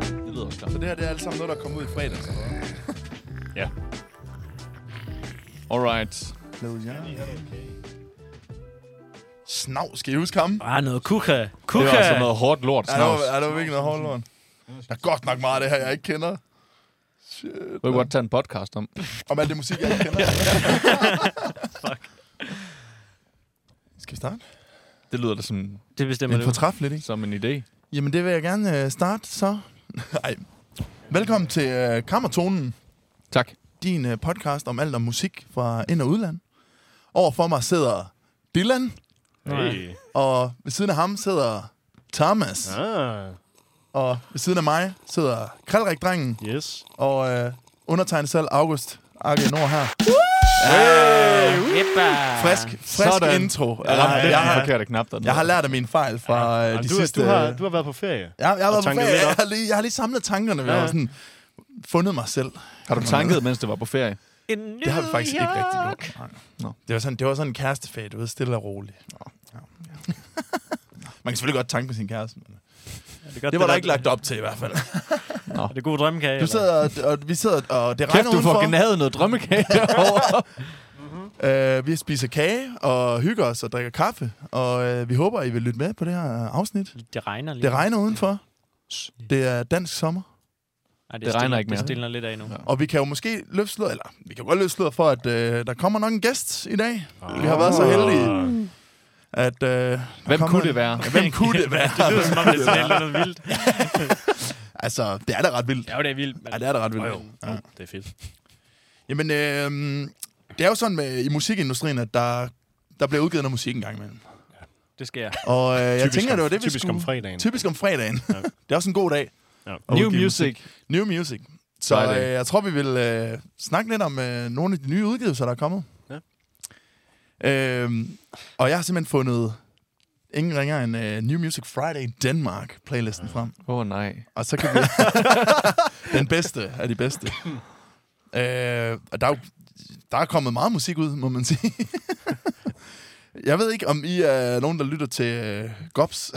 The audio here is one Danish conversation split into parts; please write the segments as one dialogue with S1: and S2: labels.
S1: det her det er alt sammen noget, der kommer ud i fredags. eller hvad?
S2: Ja. Alright.
S1: Snav, skal I huske ham?
S3: Ah, noget kuka.
S2: Det
S3: Kuka.
S2: var altså noget hårdt lort,
S1: Ja, der var,
S2: snavs.
S1: ja, der var virkelig noget hårdlort. Der er godt nok meget af det her, jeg ikke kender. Shit.
S2: Du kan godt tage en podcast om.
S1: Om alt det musik, jeg ikke kender. Skal vi starte?
S2: Det lyder da som,
S3: Det bestemmer
S1: en
S3: du.
S1: fortræffeligt, ikke?
S2: som en idé.
S1: Jamen, det vil jeg gerne øh, starte så. Ej. Velkommen til øh, Kammertonen,
S2: Tak.
S1: din øh, podcast om alt om musik fra ind- og udland. Over for mig sidder Dylan,
S3: Hey.
S1: og ved siden af ham sidder Thomas, ja.
S4: Ah,
S1: og ved siden af mig sidder Kralrik-drengen,
S4: yes.
S1: og øh, undertegnet selv August Arke Nord her.
S3: Jeppa.
S1: Frisk, frisk
S2: Sådan.
S1: intro. Øh,
S2: Jeg ramte den
S1: jeg,
S2: jeg
S1: har,
S2: forkerte knap dernede.
S1: jeg har lært af mine fejl fra øh, de
S4: Jamen, du,
S1: sidste...
S4: sidste... du, har, du har været på ferie.
S1: Ja, jeg, har været på
S4: tanket
S1: ferie.
S4: lidt
S1: jeg,
S4: op.
S1: har lige, jeg har lige samlet tankerne ved
S4: Ja.
S1: ja. sådan fundet mig selv.
S2: har du tanket, mens du var på ferie?
S1: Det har vi faktisk ikke rigtig gjort. Nej.
S2: Nå.
S1: Det var sådan, det var sådan en kærestefag, du ved, stille og roligt. Ja. Man kan selvfølgelig godt tanke med sin kæreste, men
S3: Det, godt,
S1: det var der ikke lagt op til i hvert fald.
S3: Er det god drømmekage?
S1: Du sidder, og, og vi sidder, og det regner
S2: Kæft, du får
S1: udenfor.
S2: gnavet noget drømmekage derovre.
S1: Øh, vi spiser kage og hygger os og drikker kaffe, og øh, vi håber, I vil lytte med på det her øh, afsnit.
S3: Eller? Det regner lige.
S1: Det regner udenfor. Det er dansk sommer.
S3: Ej,
S2: Det regner
S3: stille-
S2: ikke mere.
S3: Det stiller lidt af nu. Ja.
S1: Og vi kan jo måske løfte sløret, eller vi kan godt løfte sløret for, at øh, der kommer nok en gæst i dag. Vi har været så heldige, at... Øh, der
S2: Hvem
S1: kommer
S2: kunne
S1: en-
S2: det være?
S1: Ja, hvem kunne det være?
S3: Det lyder som om, det er sådan noget vildt.
S1: Altså, det er da ret vildt.
S3: Ja, det er vildt. Men...
S1: Ja, det er da ret vildt.
S4: Jo,
S1: Ja.
S4: jo, det er fedt.
S1: Jamen, øh, det er jo sådan med, i musikindustrien, at der, der bliver udgivet noget musik en gang imellem.
S3: Det sker.
S1: Og øh, jeg
S4: Typisk
S1: tænker,
S4: om-
S1: det var det, vi
S4: typisk
S1: skulle...
S4: om fredagen.
S1: Typisk om fredagen. Ja. det er også en god dag.
S4: Ja.
S1: at
S2: New
S1: udgive
S2: music.
S1: New music. Så øh,
S2: Friday.
S1: jeg tror, vi vil øh, snakke lidt om øh, nogle af de nye udgivelser, der er kommet.
S4: Ja.
S1: Øhm, og jeg har simpelthen fundet ingen ringer end øh, New Music Friday Denmark playlisten frem.
S2: Åh oh, nej.
S1: Og så kan vi... den bedste af de bedste. øh, og der er, jo, der er kommet meget musik ud, må man sige. jeg ved ikke, om I er nogen, der lytter til øh, Gops.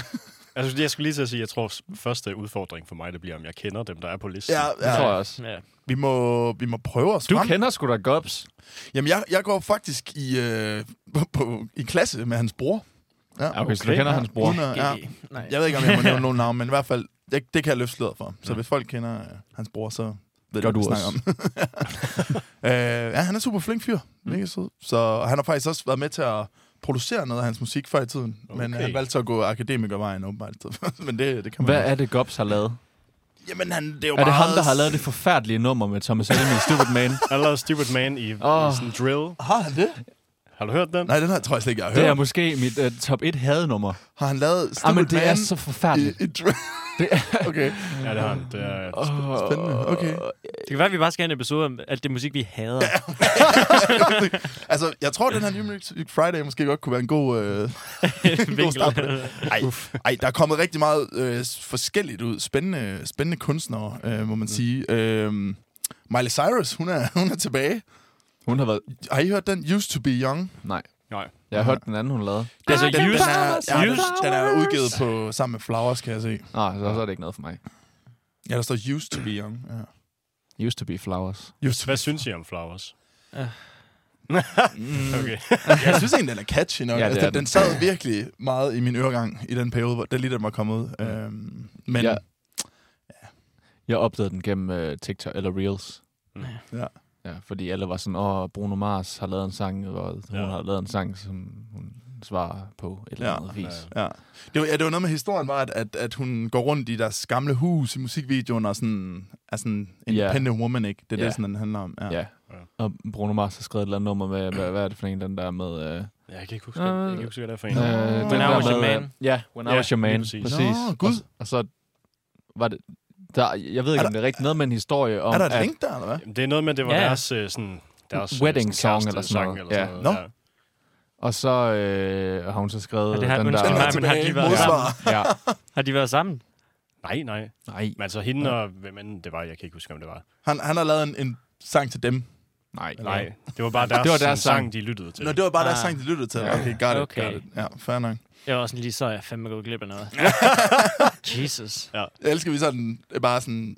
S4: Altså, jeg skulle lige til at sige, at jeg tror, s- første udfordring for mig, det bliver, om jeg kender dem, der er på listen.
S1: ja,
S2: Det tror
S1: ja,
S2: jeg også.
S3: Ja.
S1: vi, må, vi må prøve os
S2: Du
S1: frem.
S2: kender sgu da Gobs.
S1: Jamen, jeg, jeg går faktisk i, øh, på, på, i klasse med hans bror. Ja,
S2: Okay, så du kender
S1: ja,
S2: hans bror.
S1: uden at- ja.
S3: Nej.
S1: Jeg ved ikke, om jeg må nævne nogen navn, men i hvert fald, det, det kan jeg løfte sløret for. Så hvis folk kender øh, hans bror, så ved
S2: Gør
S1: de,
S2: du
S1: hvad vi snakker om. øh, ja, han er super flink fyr.
S2: Mm.
S1: Mega sød. Så han har faktisk også været med til at producere noget af hans musik før i tiden. Okay. Men øh,
S4: Okay.
S1: han valgte så at gå akademikervejen åbenbart. men det, det kan man
S2: Hvad
S1: jo.
S2: er det, Gobs har lavet?
S1: Jamen, han, det er jo
S2: Er det
S1: meget...
S2: ham, der har lavet det forfærdelige nummer med Thomas Helmi i Stupid Man?
S4: Han lavede Stupid Man i,
S2: Åh.
S4: i sådan en drill.
S1: Har han det?
S4: Har du hørt den?
S1: Nej, den har, tror jeg slet ikke, jeg har
S2: Det er
S1: hørt.
S2: måske mit uh, top 1 hadenummer.
S1: Har han lavet Stupid
S2: Ah, men det
S1: Man
S2: er så forfærdeligt.
S1: i, i dr- okay.
S4: Ja, det har han. Det er,
S1: Spændende. Okay.
S3: Det kan være, at vi bare skal have en episode om alt det musik, vi hader.
S1: altså, jeg tror, den her New Music Friday måske godt kunne være en god, øh, en god start på det. Ej, ej, der er kommet rigtig meget øh, forskelligt ud. Spændende, spændende kunstnere, øh, må man sige. Øh, Miley Cyrus, hun er, hun er tilbage.
S2: Hun har været...
S1: Har I hørt den? Used to be young.
S2: Nej.
S4: nej.
S2: Jeg har hørt den anden, hun lavede.
S3: Det er så
S1: Den, den,
S3: used.
S1: er, ja, den,
S3: Used.
S1: den er udgivet på sammen med Flowers, kan jeg se.
S2: Nej, så, så er det ikke noget for mig.
S1: Ja, der står Used to be young. Ja.
S2: Used to be flowers.
S1: Used to
S4: Hvad
S1: be.
S4: synes I om Flowers?
S3: Ja.
S4: okay.
S1: Jeg synes egentlig, den er catchy
S2: Ja,
S1: nok. Ja,
S2: det
S1: altså,
S2: er
S1: den,
S2: den.
S1: den sad virkelig meget i min øregang i den periode, hvor det lige den var kommet ud. Øhm, men
S2: Ja. Jeg opdagede den gennem øh, TikTok eller Reels.
S4: Mm.
S1: Ja.
S2: ja. Fordi alle var sådan, åh, Bruno Mars har lavet en sang, og hun
S4: Ja.
S2: har lavet en sang, som hun svarer på et eller
S1: Ja.
S2: andet vis.
S4: Ja.
S1: Ja. Det var, ja, det var noget med historien, var, at, at, at hun går rundt i deres gamle hus i musikvideoen og sådan, er sådan en
S2: Ja.
S1: yeah. independent woman, ikke? Det er yeah.
S2: Ja.
S1: det, sådan, den handler om. Ja.
S2: Ja.
S4: Ja.
S2: Og Bruno Mars har skrevet et eller andet nummer med, hvad, hvad er det for en, den der med... Øh,
S4: Ja, jeg kan ikke huske, jeg kan ikke huske hvad det er for en.
S2: Øh,
S1: When
S2: den
S1: I
S2: der
S3: Was Your
S2: med,
S3: Man.
S2: øh, Ja, When I
S4: Ja,
S2: Was Your Man.
S4: lige præcis.
S2: præcis.
S1: Nå, gud.
S2: Og, s- og så var det... Der, jeg ved ikke,
S1: Er
S2: om det er rigtigt noget med en historie om...
S1: Er der et
S2: at-
S1: link der, eller hvad?
S4: Jamen, Det er noget med, det var
S3: Ja.
S4: deres, øh, sådan, deres
S2: Wedding song
S4: kæreste-
S2: eller sådan noget.
S4: sang Eller sådan
S2: Ja.
S1: Nå.
S4: noget. Ja.
S2: Og så øh, har hun så skrevet
S3: Ja, det har-
S2: den der...
S3: undskyld
S1: Den
S3: Nej,
S1: er
S3: men har de
S1: tilbage.
S3: været
S1: Modsvar.
S2: ja.
S3: Har de været sammen?
S4: Nej, nej.
S2: Nej,
S4: Men altså hende og hvem end det var, jeg kan ikke huske, om det var.
S1: Han, han har lavet en, en sang til dem.
S2: nej,
S4: Nej, det var bare deres,
S2: Det var deres
S4: det var
S2: sang.
S4: deres sang. sang, de lyttede til.
S1: Nå, det var bare ah. deres
S3: Ah.
S1: sang, de lyttede til.
S2: Ja.
S1: Okay, got it,
S3: Okay.
S1: okay. got it. Ja, fair nok.
S3: Jeg var sådan lige så, er jeg fandme gået glip af noget. Jesus.
S1: Jeg elsker vi sådan, øh, bare sådan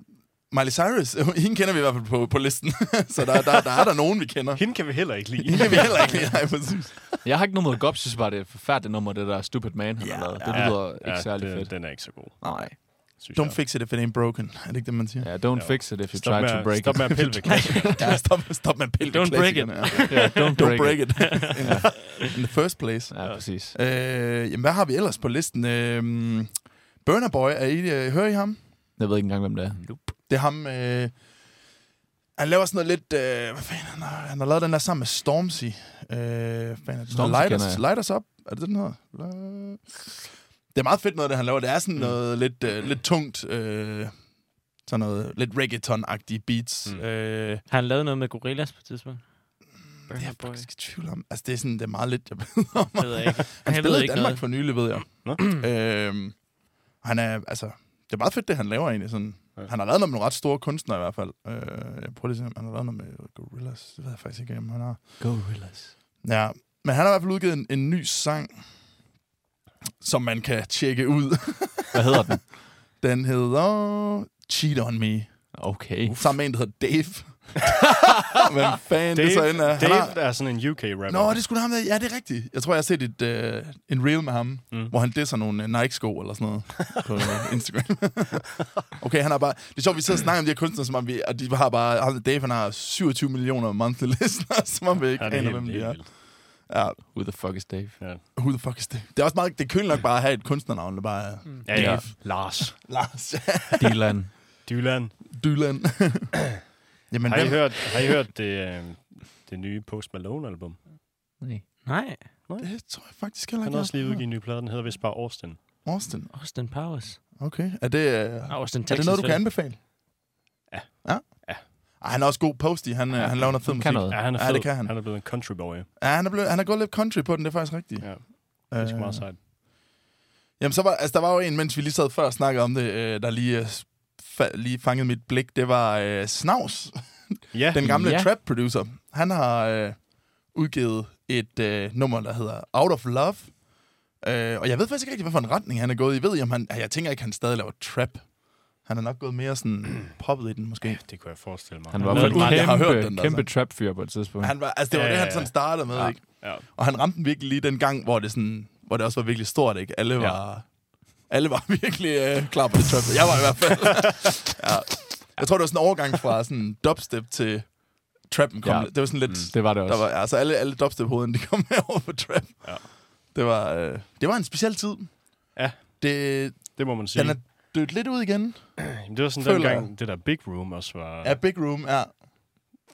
S1: Miley Cyrus, hende kender vi i hvert fald på, på listen. så der, der, der er der nogen, vi kender.
S4: Hende kan vi heller ikke lide.
S1: Hende kan vi heller ikke lide. Nej, præcis.
S2: Jeg har ikke noget mod Gob, synes bare, det er et forfærdeligt nummer, det der Stupid Man, han har lavet. Det lyder ikke særlig
S4: den,
S2: fedt.
S4: Den er ikke så god,
S2: Nej.
S4: synes
S1: Don't fix it if it ain't broken. Er det ikke det, man siger?
S2: Ja, don't
S4: Ja.
S2: fix it if you
S4: Stop
S2: try
S4: med,
S2: to
S4: at-
S2: break
S4: Stop med
S2: it.
S4: at pille ved klassikerne.
S1: Ja, stop, stop med at pille
S3: Don't break it.
S1: klassikerne.
S2: Ja, don't
S1: Don't
S2: break,
S1: break
S2: it.
S1: it. in, in the first place.
S2: Ja, præcis.
S1: Øh, jamen, hvad har vi ellers på listen? Øh, Burner Boy, er I, øh, hører I ham?
S2: Jeg ved ikke engang, hvem det er.
S1: Det er ham... Øh, han laver sådan noget lidt... Øh, hvad fanden, han har, han har lavet den der sammen med Stormzy. Øh, hvad fanden er det?
S2: Stormzy
S1: Light
S2: kender
S1: us,
S2: jeg.
S1: light us Up. Er det det, den hedder? La- Det er meget fedt noget, det han laver. Det er
S2: Mm.
S1: sådan noget lidt, øh, lidt tungt... Øh, sådan noget lidt reggaeton-agtige beats.
S4: Mm.
S1: Mm. Øh,
S3: Har han lavet noget med gorillas på et tidspunkt?
S1: det er
S3: Burner
S1: jeg
S3: Boy.
S1: faktisk i tvivl om. Altså, det er sådan, det er meget lidt, jeg ved om.
S3: Det ved jeg ikke.
S1: Han
S3: Jeg ved
S1: spillede i
S3: ikke
S1: Danmark
S3: noget.
S1: for nylig, ved jeg.
S4: Nå.
S1: øhm, han er, altså, det er meget fedt, det han laver egentlig. Sådan.
S4: Ja.
S1: Han har lavet noget med nogle ret store kunstnere i hvert fald. Øh, jeg prøver lige at se, om han har lavet noget med Gorillaz. Det ved jeg faktisk ikke, om han har.
S2: Gorillas.
S1: Ja, men han har i hvert fald udgivet en, en ny sang, som man kan tjekke ud.
S2: Hvad hedder den?
S1: Den hedder Cheat On Me,
S2: Okay.
S1: sammen med en, der hedder Dave. Hvem fanden det så end er. Han har-
S4: Dave er sådan en UK-rapper.
S1: Nå, det er sgu da ham der. Ja, det er rigtigt. Jeg tror, jeg har set et, øh, en reel med ham,
S4: Mm.
S1: mm. hvor han disser nogle øh, Nike-sko eller sådan noget på øh, Instagram. okay, han har bare... Det er sjovt, vi sidder og snakker om de her kunstnere, som om vi... Og de har bare... ham der Dave, han har 27 millioner monthly listeners, som om vi ikke
S4: Ja, det er
S1: aner,
S4: helt,
S1: hvem de
S4: helt
S1: er.
S4: vildt.
S1: Ja,
S2: Who the fuck is Dave?
S1: who the fuck is det? Det er også meget... Det er køligt nok bare at have et kunstnernavn, der bare er...
S4: Ja, ja. Lars.
S1: Lars
S2: Dylan.
S4: Dylan.
S1: Dylan. Jamen,
S4: Har I
S1: hvem,
S4: hørt, har I hørt det, øh, det nye Post Malone-album?
S2: Nej.
S3: Nej,
S1: det tror jeg faktisk heller
S4: Han
S1: ikke.
S4: har også
S1: jeg
S4: lige
S1: har.
S4: udgivet en ny plade, den hedder vist bare Austin.
S1: Austin.
S3: Austin Powers.
S1: Okay. Er det... Øh,
S3: Ah, Austin, Texas,
S1: Er det noget, du
S3: vel?
S1: kan anbefale?
S4: Ja.
S1: Ja?
S4: Ja.
S1: Ej, han er også god posty. Han, ja, han laver noget fed musik.
S2: Kan noget.
S4: Ja, han er
S1: Ja,
S4: fed.
S1: det kan han. Øh,
S4: Han er blevet en country boy. Det
S1: Ja, han er, blevet, han er gået lidt country på den, det er faktisk rigtigt.
S4: Ja, er sgu meget sejt.
S1: Jamen, så var, altså, der var jo en, mens vi lige sad før og snakkede om det, øh, der lige, øh, fa- lige fangede mit blik. Det var øh, Snavs,
S4: Ja,
S1: den gamle
S2: Ja.
S1: trap-producer. Han har øh, udgivet et øh, nummer, der hedder Out of Love. Øh, og jeg ved faktisk ikke rigtig, hvad for en retning han er gået i. Ved I, om han... Jeg tænker ikke, han stadig laver trap. Han er nok gået mere sådan poppet i den, måske.
S4: det kunne jeg forestille mig.
S2: Han var
S3: Noget,
S2: vel
S3: du aldrig
S1: har hørt
S2: kæmpe,
S1: den, altså.
S2: kæmpe trap-fyr på et tidspunkt.
S1: Han var, altså, det var
S4: Ja,
S1: det,
S4: ja,
S1: han
S4: ja.
S1: sådan startede med,
S2: Ja.
S1: ja. ikke?
S4: Ja.
S1: Og han ramte den virkelig lige den gang, hvor det, sådan, hvor det også var virkelig stort, ikke? Alle
S4: Ja.
S1: var, alle var virkelig øh, klar på det trap. Jeg var i hvert fald. ja. Jeg tror, det var sådan en overgang fra sådan dubstep til trappen kom.
S2: Ja.
S1: Ja. Det var sådan lidt... Mm.
S2: Det var det også.
S1: Der var, altså alle, alle dubstep-hovederne, de kom med over på trap.
S4: Ja.
S1: Det var, øh, det var en speciel tid.
S4: Ja.
S1: Det,
S4: Det må man sige.
S1: den er dødt lidt ud igen.
S4: Jamen, Det var sådan den
S1: Føler
S4: gang, det der Big Room også var,
S1: Ja, Big Room, ja.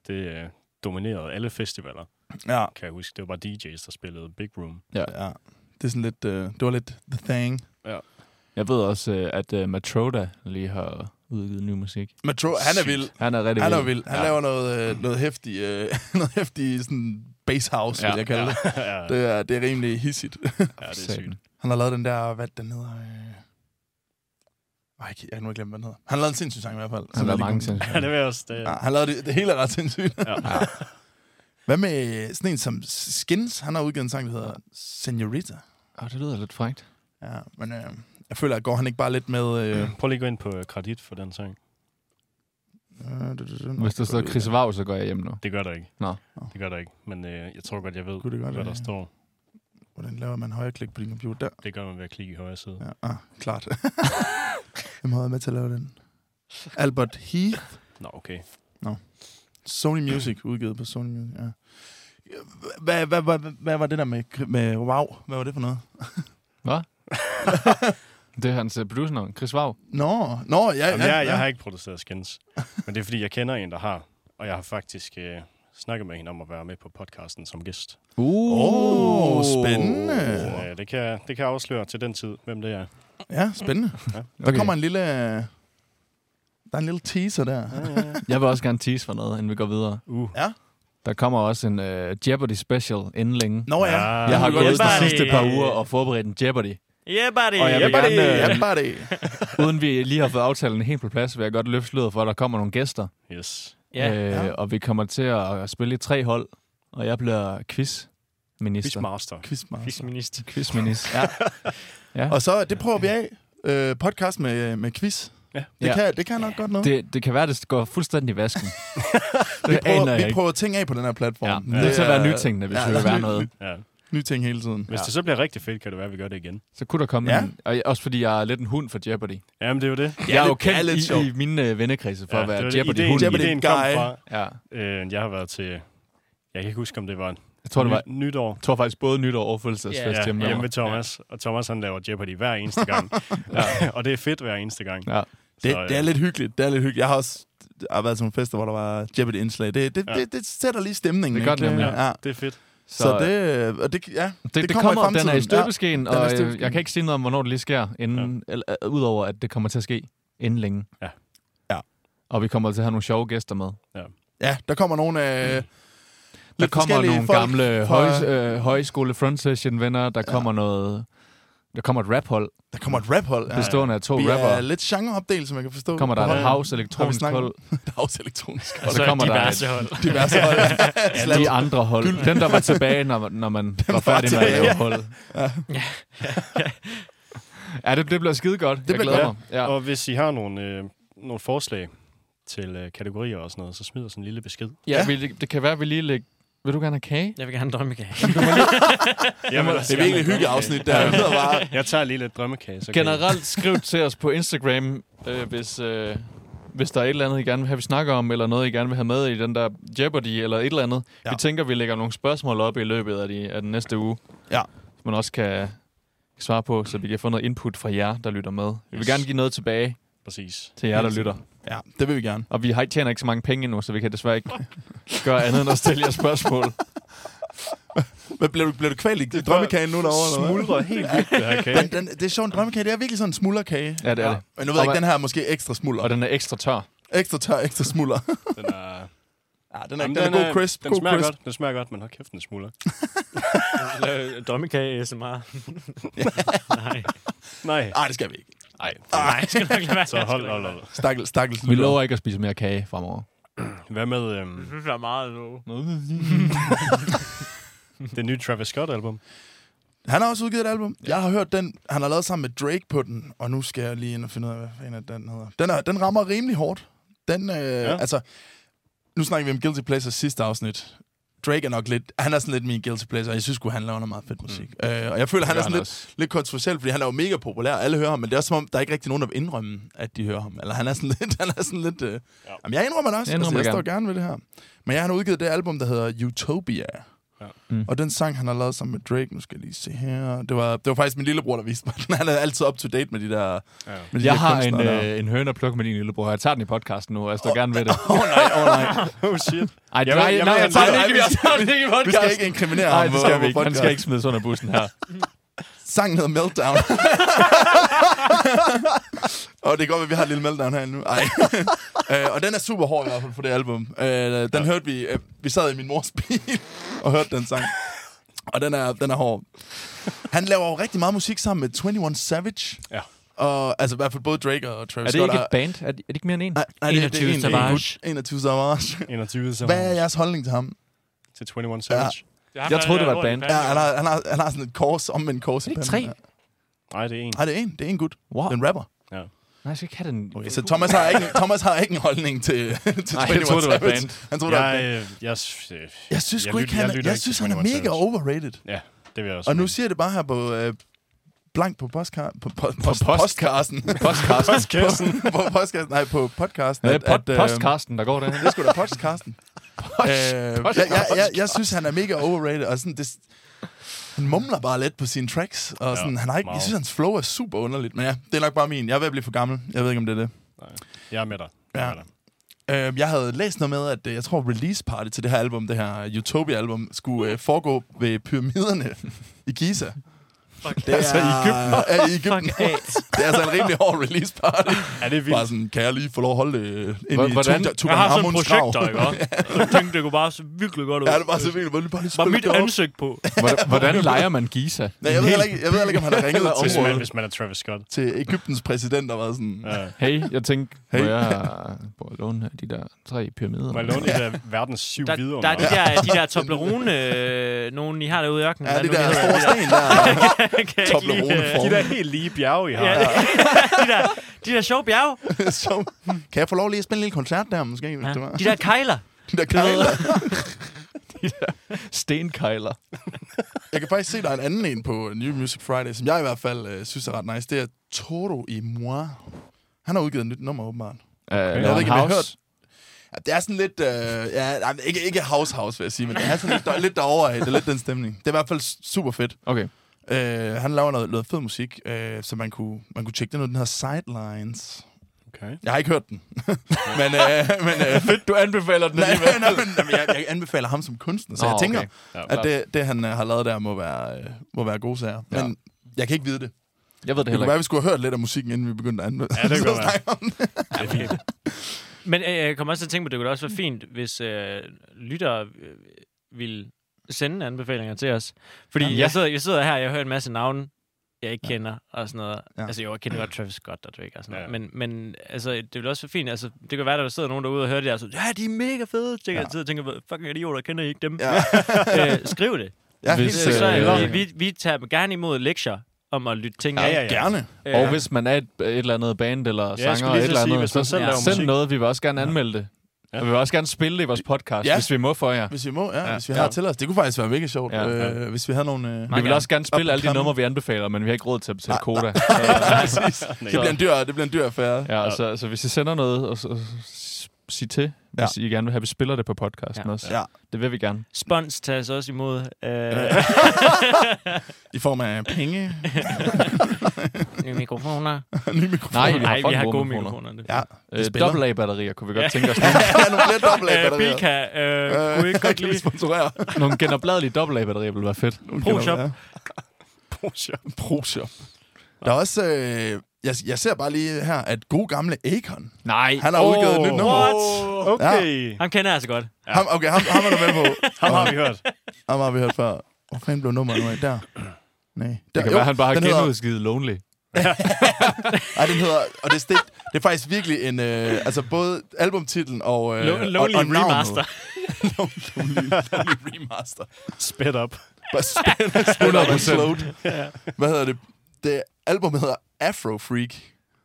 S4: det øh, dominerede alle festivaler,
S1: Ja.
S4: kan jeg huske. Det var bare DJ's, der spillede Big Room.
S1: ja. Det er sådan lidt... Øh, det var lidt the thing.
S2: Jeg ved også, øh, at øh, Matroda lige har udgivet ny musik.
S1: Matro, han er
S4: Sygt.
S1: vild.
S2: Han er rigtig
S1: Han er
S2: vild.
S1: vild. Han ja. laver noget, øh, noget hæftig, øh, noget hæftig sådan bass house, ja. vil jeg kalde ja. det.
S4: ja,
S1: Det er, det er rimelig hissigt.
S4: ja, det er
S2: Satan.
S4: sygt.
S1: Han har lavet den der, hvad den hedder... Øh... Ej, jeg kan nu glemt, hvad den hedder. Han har lavet en sindssyg sang i hvert fald.
S2: Han
S1: som
S2: har
S1: jeg lige
S2: mange
S1: kom-
S2: ting.
S4: Ja, det var også det.
S1: Ja, han lavede det, det hele er ret sindssygt.
S4: Ja.
S1: Hvad med øh, sådan en som Skins? Han har udgivet en sang, der hedder Senorita.
S2: Åh, det lyder lidt frægt.
S1: Ja, men øh, jeg føler, at går han ikke bare lidt med... Øh,
S4: Prøv lige at gå ind på øh, kredit for den sang.
S1: øh,
S2: Mm. Hvis der står Chris Vav, så går jeg hjem nu.
S4: Det gør der ikke.
S2: Nå.
S4: Det gør der ikke, men øh, jeg tror godt, jeg ved,
S1: Kunne det godt
S4: hvad
S1: være,
S4: der
S1: ja.
S4: står.
S1: Hvordan laver man højreklik på din computer? Der.
S4: Det gør man ved at klikke i højre side.
S1: Ja, ah, klart. Hvem har været med til at lave den? Albert Heath.
S4: Nå, okay.
S1: Sony Music, udgivet på Sony Music, ja. Hvad, hvad, hvad, hvad var det der med, med wow? Hvad var det for noget?
S2: Det er hans øh, producernavn, Chris Vav.
S1: Nå, nå ja, ja,
S4: Jamen, jeg,
S1: ja.
S4: jeg har ikke produceret skins, men det er fordi, jeg kender en, der har. Og jeg har faktisk øh, snakket med hende om at være med på podcasten som gæst.
S2: Uh.
S1: Åh, spændende.
S4: Så, øh, det, kan, det kan jeg afsløre til den tid, hvem det er.
S1: Ja, spændende.
S4: Ja.
S1: Der kommer en lille... Der er en lille teaser der.
S2: Jeg vil også gerne tease for noget, inden vi går videre.
S4: Uh.
S1: Ja.
S2: Der kommer også en uh, Jeopardy special inden længe.
S1: Nå ja.
S4: Ja.
S2: Jeg har
S1: vil
S3: godt
S2: gået de
S3: lide det.
S2: sidste par uger og forberedt en Jeopardy.
S3: Yeah, buddy!
S2: Og jeg vil
S1: Jeopardy,
S2: gerne, øh,
S1: Jeopardy.
S2: Uden vi lige har fået aftalen helt på plads, vil jeg godt løfte sløret for, at der kommer nogle gæster.
S4: Yes.
S3: Ja,
S2: Øh,
S1: Ja.
S2: Og vi kommer til at spille i tre hold, og jeg bliver quizminister.
S4: Quizmaster.
S1: Quizmaster.
S3: Fiskminister.
S2: Quizminister. Ja. ja.
S1: Og så, det prøver vi af. Øh, podcast med, med quiz. Det,
S2: Ja.
S1: kan, det kan nok godt noget.
S2: Det, det kan være, det går fuldstændig i vasken.
S1: vi
S2: det aner
S1: prøver,
S2: jeg
S1: vi
S2: ikke.
S1: prøver ting af på den her platform.
S2: Ja, det er nødt til at være nytænkende, hvis vi vil
S1: der er
S2: være
S1: ny-
S2: noget.
S4: Ja.
S1: Nye ting hele tiden.
S4: Hvis ja. det så bliver rigtig fedt, kan det være, at vi gør det igen.
S2: Så kunne der komme
S1: Ja.
S2: ja. en, og jeg- også fordi jeg er lidt en hund for Jeopardy.
S4: Jamen, det er jo det.
S2: jeg er jo
S1: det- det er lidt
S2: kendt
S1: sjovt.
S2: i, i mine øh, vennekredse for ja, at
S4: det var
S2: være
S4: det, ideen,
S2: Jeopardy-hunden.
S1: Jeopardy
S4: ideen kom
S1: guy.
S4: fra.
S2: Ja.
S4: Øh, jeg har været til... Jeg kan ikke huske, om det var,
S2: Jeg tror, det var,
S4: ny- nytår.
S2: jeg tror faktisk både nytår og fødselsdagsfest
S4: Ja,
S2: hjemme.
S4: hjemme ved
S2: med mig.
S4: Thomas. Og Thomas, han laver Jeopardy hver eneste gang.
S2: Ja.
S4: og det er fedt hver eneste gang.
S2: Ja.
S1: Det,
S4: Så, øh,
S1: det er lidt hyggeligt. Det er lidt hyggeligt. Jeg har også jeg har været til nogle fester, hvor der var Jeopardy-indslag. Det, det,
S4: Ja.
S1: ja. det, det sætter lige stemningen.
S2: Det gør
S1: ikke?
S2: det nemlig.
S1: ja. ja.
S4: Det er fedt.
S1: Så, så
S2: øh,
S1: det, og det, ja,
S2: det, det, det kommer,
S1: i
S2: kommer den er i
S1: fremtiden. Ja.
S2: støbeskeen,
S1: den
S2: ja,
S1: er i
S2: og øh,
S1: støbeskeen.
S2: jeg kan ikke sige noget om, hvornår det lige sker, inden, ja. eller, øh, udover at det kommer til at ske inden længe.
S4: Ja.
S1: Ja.
S2: Og vi kommer til at have nogle sjove gæster med.
S1: Ja, der kommer nogle af...
S2: Der kommer
S1: forskellige
S2: nogle
S1: folk
S2: gamle
S1: fra-
S2: høj, øh, højskole front session venner, der ja. kommer noget... Der kommer et raphold,
S1: Der kommer et raphold. Ja.
S2: bestående af to
S1: Vi er
S2: rapper.
S1: lidt genreopdelt, som jeg kan forstå.
S2: Kommer der
S1: På
S2: et
S1: holdet.
S2: house elektronisk
S1: snakket om-
S2: hold,
S1: Der er også elektronisk.
S2: og så kommer der et,
S3: hold.
S1: Diverse hold. Slash.
S2: de andre hold. Dem, der var tilbage, når, når man var færdig med at
S1: tilbage.
S2: lave holdet. Ja, det, det bliver skide godt. Det jeg
S1: bliver
S2: glæder
S4: godt.
S2: mig. Ja.
S4: Og hvis I har nogle, øh, nogle forslag til øh, kategorier og sådan noget, så smid os en lille besked.
S2: Ja, vi, det kan være, at vi lige lægger... Vil du gerne have kage?
S3: Jeg vil gerne drømme igen.
S4: Jamen,
S1: Det er virkelig et hyggeligt afsnit, der er bare...
S4: Jeg tager lige lidt drømmekage. Så kan I-
S2: Generelt skriv til os på Instagram, øh, hvis, øh, hvis der er et eller andet, I gerne vil have, vi snakker om, eller noget, I gerne vil have med i den der Jeopardy, eller et eller andet.
S1: Ja.
S2: Ja. Vi tænker, vi lægger nogle spørgsmål op i løbet af, de, af den næste uge.
S1: Ja.
S2: Som man også kan svare på, så vi kan få noget input fra jer, der lytter med. Vi vil
S4: Yes.
S2: gerne give noget tilbage
S4: Præcis.
S2: til jer, der
S1: Helt
S2: lytter.
S1: Ja, det vil vi gerne.
S2: Og vi har, tjener ikke så mange penge endnu, så vi kan desværre ikke gøre andet end at stille jer spørgsmål.
S1: Hvad bliver du, bliver du kvalt i
S4: er bare
S1: drømmekagen nu derovre? eller hvad?
S4: Smuldrer helt vildt, det her kage.
S1: Den, den, det er sjovt, en drømmekage, det er virkelig sådan en smullerkage.
S2: Ja, det er det.
S1: Men nu ved jeg
S2: Og
S1: ikke,
S2: man-
S1: den her er måske ekstra smuller.
S2: Og den er ekstra tør.
S1: Ekstra tør, ekstra smuller.
S4: Den er,
S1: Ja, den er,
S4: Jamen,
S1: den er, god crisp.
S4: Den
S1: god
S4: smager
S1: crisp.
S4: godt, den smager godt, men hold kæft, den smuldrer.
S3: øh, Drømmekage ASMR. Nej.
S4: Nej.
S1: Nej, det skal vi ikke. Ah,
S4: Nej.
S3: Nej, jeg skal nok lade være.
S4: Ah, Så hold, hold, hold.
S1: Stakkels, stakkels.
S2: Vi
S1: lytter.
S2: lover ikke at spise mere kage fremover.
S4: Hvad med øhm,
S3: Jeg synes, der er meget nu.
S4: det nye Travis Scott-album?
S1: Han har også udgivet et album. Jeg har hørt den. Han har lavet sammen med Drake på den, og nu skal jeg lige ind og finde ud af, hvad fanden er den hedder. Den, er, den rammer rimelig hårdt. Den, øh, ja. altså, nu snakker vi om Guilty Pleasure sidste afsnit. Drake er nok lidt, han er sådan lidt min Guilty Pleasure, og jeg synes sgu, han laver noget meget fedt musik. Mm. Øh, og jeg føler, han er
S2: gør
S1: sådan
S2: han
S1: lidt, lidt kontroversiel, fordi han er jo mega populær, og alle hører ham, men det er også som om, der er ikke rigtig nogen, der vil indrømme, at de hører ham. Eller han er sådan lidt... Han er sådan lidt øh...
S4: Ja.
S1: ja. Jamen, jeg indrømmer det også.
S2: Jeg
S1: Jeg, altså,
S2: indrømmer
S1: jeg
S2: det
S1: står gerne ved det her. Men jeg har udgivet det album, der hedder Utopia.
S4: Ja.
S1: Ja.
S2: Mm.
S1: Mm. Og den sang, han har lavet sammen med Drake, nu skal jeg lige se her. Det var, det var faktisk min lillebror, der viste mig den. Han er altid up to date med de der,
S4: Ja.
S1: med de der
S2: Jeg har en,
S1: kunstnere der.
S2: øh, en høne at plukke med din lillebror. Jeg tager den i podcasten nu, og jeg står gerne ved det.
S1: Åh oh, nej, åh oh, nej.
S4: Oh shit.
S2: Ej,
S4: Jeg
S2: jeg
S4: vil-
S2: nej,
S4: jeg
S2: nej,
S4: vil-
S2: jeg tager den ikke,
S1: vi
S2: jeg tager den ikke i
S1: Vi skal
S2: podcasten.
S1: ikke inkriminere
S2: Nej,
S1: ham.
S2: det skal
S1: på-
S2: vi
S1: på
S2: ikke. Han
S1: podcast.
S2: skal ikke smides under bussen her.
S1: Sangen hedder Meltdown. og det går, at vi har et lille meltdown herinde nu. Ej. øh, og den er super hård i hvert fald på det album. Øh, den ja. hørte vi, øh, vi sad i min mors bil og hørte den sang. Og den er, den er hård. Han laver jo rigtig meget musik sammen med 21 Savage.
S4: Ja.
S1: Og, altså i hvert fald både Drake og Travis
S2: Er det
S1: Scott.
S2: ikke et band? Er det, er det ikke mere end en?
S1: Nej, nej, det, det
S3: 21
S1: er en,
S3: Savage.
S1: En, gut- 21 Savage.
S4: 21 så
S1: Hvad er jeres holdning til ham?
S4: til 21 Savage.
S2: Jeg troede, det var et band.
S1: Ja, han, har, han, har, han har sådan et kors, omvendt kors.
S2: Er det ikke
S1: i panden.
S2: tre?
S4: Nej, det er en.
S1: Nej, det er en. Det er en gut.
S2: Wow.
S1: Den rapper.
S2: Nej, jeg skal ikke have den.
S1: Okay, så Thomas har ikke, Thomas har ikke en holdning til, til
S2: Nej,
S1: 21
S2: jeg troede, det var et
S1: Savage.
S2: band.
S1: Han troede, det var et band.
S4: Jeg, øh, jeg, s- øh,
S1: Jeg synes
S4: jeg
S1: sgu ikke,
S4: lyt- jeg
S1: han, jeg,
S4: lytter
S1: jeg
S4: ikke
S1: synes,
S4: til
S1: han er
S4: 21
S1: mega
S4: Savage.
S1: overrated.
S4: ja, det vil jeg også
S1: Og nu
S4: mene.
S1: siger det bare her på... Øh, blank på, postka- på, på, på
S2: post-
S1: postkassen.
S2: Postcasten.
S4: Kirsten.
S1: på postkassen. Nej, på podcasten.
S2: Er det
S1: at- at,
S2: pod-
S1: øh,
S2: postcasten, der går der?
S1: Det skulle da podcasten. øh, jeg, jeg, jeg, jeg, synes, han er mega overrated. Og sådan, det, han mumler bare lidt på sine tracks. Og sådan,
S4: Ja,
S1: han har ikke, jeg
S4: meget.
S1: synes, hans flow er super underligt. Men ja, det er nok bare min. Jeg er ved at blive for gammel. Jeg ved ikke, om det er det.
S4: Jeg er med dig. Jeg er
S1: Ja.
S4: med dig.
S1: Øh, jeg havde læst noget med, at øh, jeg tror, release party til det her album, det her Utopia-album, skulle øh, foregå ved pyramiderne i Giza. Fuck, det er,
S2: Altså i Egypten?
S1: Ja, i Egypten. det er altså en rimelig hård release party. Bare
S4: Er det vildt?
S1: sådan, kan jeg lige få lov at holde det øh, ind i
S2: Hvordan?
S1: Tutan-
S3: Jeg har sådan et
S1: Tutankhamons grav?
S3: projekt, der, ikke? også? Jeg tænkte, det kunne bare se virkelig godt ud.
S1: Ja, det var så vildt. Var det bare lige
S3: Bare
S1: spille
S3: mit
S1: det op?
S3: ansigt på.
S2: Hvordan- Hvordan leger man Giza?
S1: Nej, jeg ved heller ikke, jeg ved heller ikke om han har ringet
S4: Hvis
S1: til,
S4: man, hvis man er Travis Scott.
S1: til Ægyptens præsident og været sådan... Ja.
S4: Ja.
S2: Hey, jeg tænkte, hey.
S1: Hey.
S2: må jeg må jeg låne de der tre pyramider?
S4: Må jeg låne det der verdens syv
S3: Der,
S4: vidunder?
S3: der er de der, de der Toblerone, øh, nogen I har derude i ørkenen.
S1: Ja,
S3: Hvad
S1: det
S3: nu
S1: der
S3: hedder
S1: store sten der. Toblerone for.
S4: De der helt lige bjerge, I har.
S3: Ja,
S4: Ja.
S3: de, der, de der sjove bjerge.
S1: Så, kan jeg få lov lige at spille en lille koncert der, måske? Ja.
S3: Ja.
S1: Hvis det var.
S3: De der kejler.
S1: De der kejler.
S2: Stenkejler.
S1: Jeg kan faktisk se, der er en anden en på New Music Friday, som jeg i hvert fald øh, synes er ret nice. Det er Toro i Moi. Han har udgivet et nyt nummer, åbenbart.
S2: Okay.
S1: ved ikke, om I har hørt- Ja, det er sådan lidt... Øh, ja, nej, men ikke, ikke house house, vil jeg sige, men det er sådan lidt, der, lidt derovre af. Det er lidt den stemning. Det er i hvert fald super fedt.
S2: Okay.
S1: Øh, han laver noget, noget fed musik, øh, så man kunne, man kunne tjekke den ud. Den hedder Sidelines.
S4: Okay.
S1: Jeg har ikke hørt den. men øh, men øh,
S2: Fedt, du anbefaler den
S1: nej,
S2: alligevel.
S1: nej, nej, men, jamen, jeg, jeg anbefaler ham som kunstner, så
S2: Nå,
S1: jeg tænker,
S2: okay.
S1: okay.
S4: Ja,
S1: at det, det han øh, har lavet der, må være, øh, må være gode sager.
S2: Ja.
S1: Men jeg kan ikke vide det.
S2: Jeg ved det
S1: Det kunne
S2: heller
S1: være,
S2: ikke.
S1: at vi skulle have hørt lidt af musikken, inden vi begyndte at anmelde.
S4: Ja, det kan godt være.
S3: Ja, Men øh, jeg kommer også til at tænke på, at det kunne da også være fint, hvis øh, lyttere øh, ville sende anbefalinger til os. Fordi
S2: Ja.
S3: ja. jeg, sidder, jeg sidder her, jeg hører en masse navne, jeg ikke kender, og sådan noget.
S1: Ja.
S3: Ja. Altså, jo, jeg kender godt Travis Scott og Drake og sådan
S4: Ja.
S3: noget. Men, men altså, det ville også være fint. Altså, det kan være, at der sidder nogen derude og hører det, og så, ja, de er mega fede.
S1: Ja.
S3: Tænker, ja. Jeg sidder og tænker, "Hvad fucking idioter, kender I ikke dem?
S1: Ja,
S3: Ja. Øh, skriv det.
S1: ja helt
S2: Hvis,
S3: Så,
S1: sikkert.
S3: så,
S2: øh,
S3: øh, vi, vi tager gerne imod lektier om at lytte ting.
S4: Ja,
S3: af.
S4: ja, ja.
S1: Gerne.
S3: Øh,
S2: Og hvis man er et, et eller andet band eller
S4: jeg
S2: sanger
S4: skulle
S2: eller
S4: lige
S2: et
S4: til
S2: eller
S4: at
S2: andet,
S4: sige, hvis man selv
S3: Ja.
S4: laver
S2: send
S4: musik.
S2: noget, vi vil også gerne anmelde det.
S4: Ja.
S2: Og vi vil også gerne spille det i vores podcast,
S1: Ja.
S2: hvis vi må for jer.
S1: Hvis vi må, ja.
S2: Ja.
S1: ja. Hvis vi har
S2: Ja.
S1: ja. til os. Det kunne faktisk være mega sjovt,
S2: Ja.
S1: ja. øh, hvis vi havde nogle... Øh,
S2: Vi vil også gerne
S1: Up
S2: spille
S1: and
S2: alle de
S1: coming.
S2: numre, vi anbefaler, men vi har ikke råd til at betale
S1: Nej,
S2: koda.
S1: Præcis.
S4: Nej.
S1: det, bliver en dyr, det bliver en dyr affære. Ja.
S2: Ja, så, så hvis I sender noget, og, så- og s- sig til, hvis I gerne vil have, at vi spiller det på podcasten
S3: Ja.
S2: også.
S1: Ja.
S2: Det vil vi gerne.
S3: Spons tages også imod. Øh,
S1: Øh. I form af penge,
S3: nye mikrofoner.
S1: nye mikrofoner.
S2: Nej, vi har
S3: Nej, vi
S2: fucking
S3: har
S2: gode
S3: gode
S2: mikrofoner.
S3: mikrofoner. det er
S1: Ja,
S2: Øh,
S1: spiller.
S2: Double A-batterier kunne vi godt tænke os.
S1: ja nogle flere dobbelt af
S3: Øh,
S1: batterier.
S3: Bilka, øh, kunne I ikke godt
S1: kan vi
S3: lide?
S1: sponsorere?
S2: Nogle, nogle genopladelige double A-batterier ville være fedt.
S3: Pro-shop.
S4: Porsche.
S1: ProShop. Der er også... Øh, jeg, jeg ser bare lige her, at god gamle Akon.
S2: Nej.
S1: Han har
S2: Åh,
S1: udgivet et nyt nummer.
S3: What?
S4: Okay. Ja.
S3: Ham kender jeg altså godt.
S1: Ham, okay, ham, ham er du med på.
S4: Ham har vi hørt.
S1: Ham har vi hørt før. Hvor fanden blev nummeret nu af? Der. Nej. Der,
S2: Det kan jo, være, han bare har
S1: den hedder-
S2: genudskivet Lonely.
S1: Nej, den hedder... Og det er, stik, det er faktisk virkelig en... Øh, altså både albumtitlen og... Øh,
S3: Lo- Lonely
S1: og, og navnet.
S3: Remaster.
S1: Lonely, lonely Remaster.
S4: Sped up.
S1: Bare spændende,
S2: 100%.
S1: spændende slowed. Hvad hedder det? Det albumet hedder Afro Freak.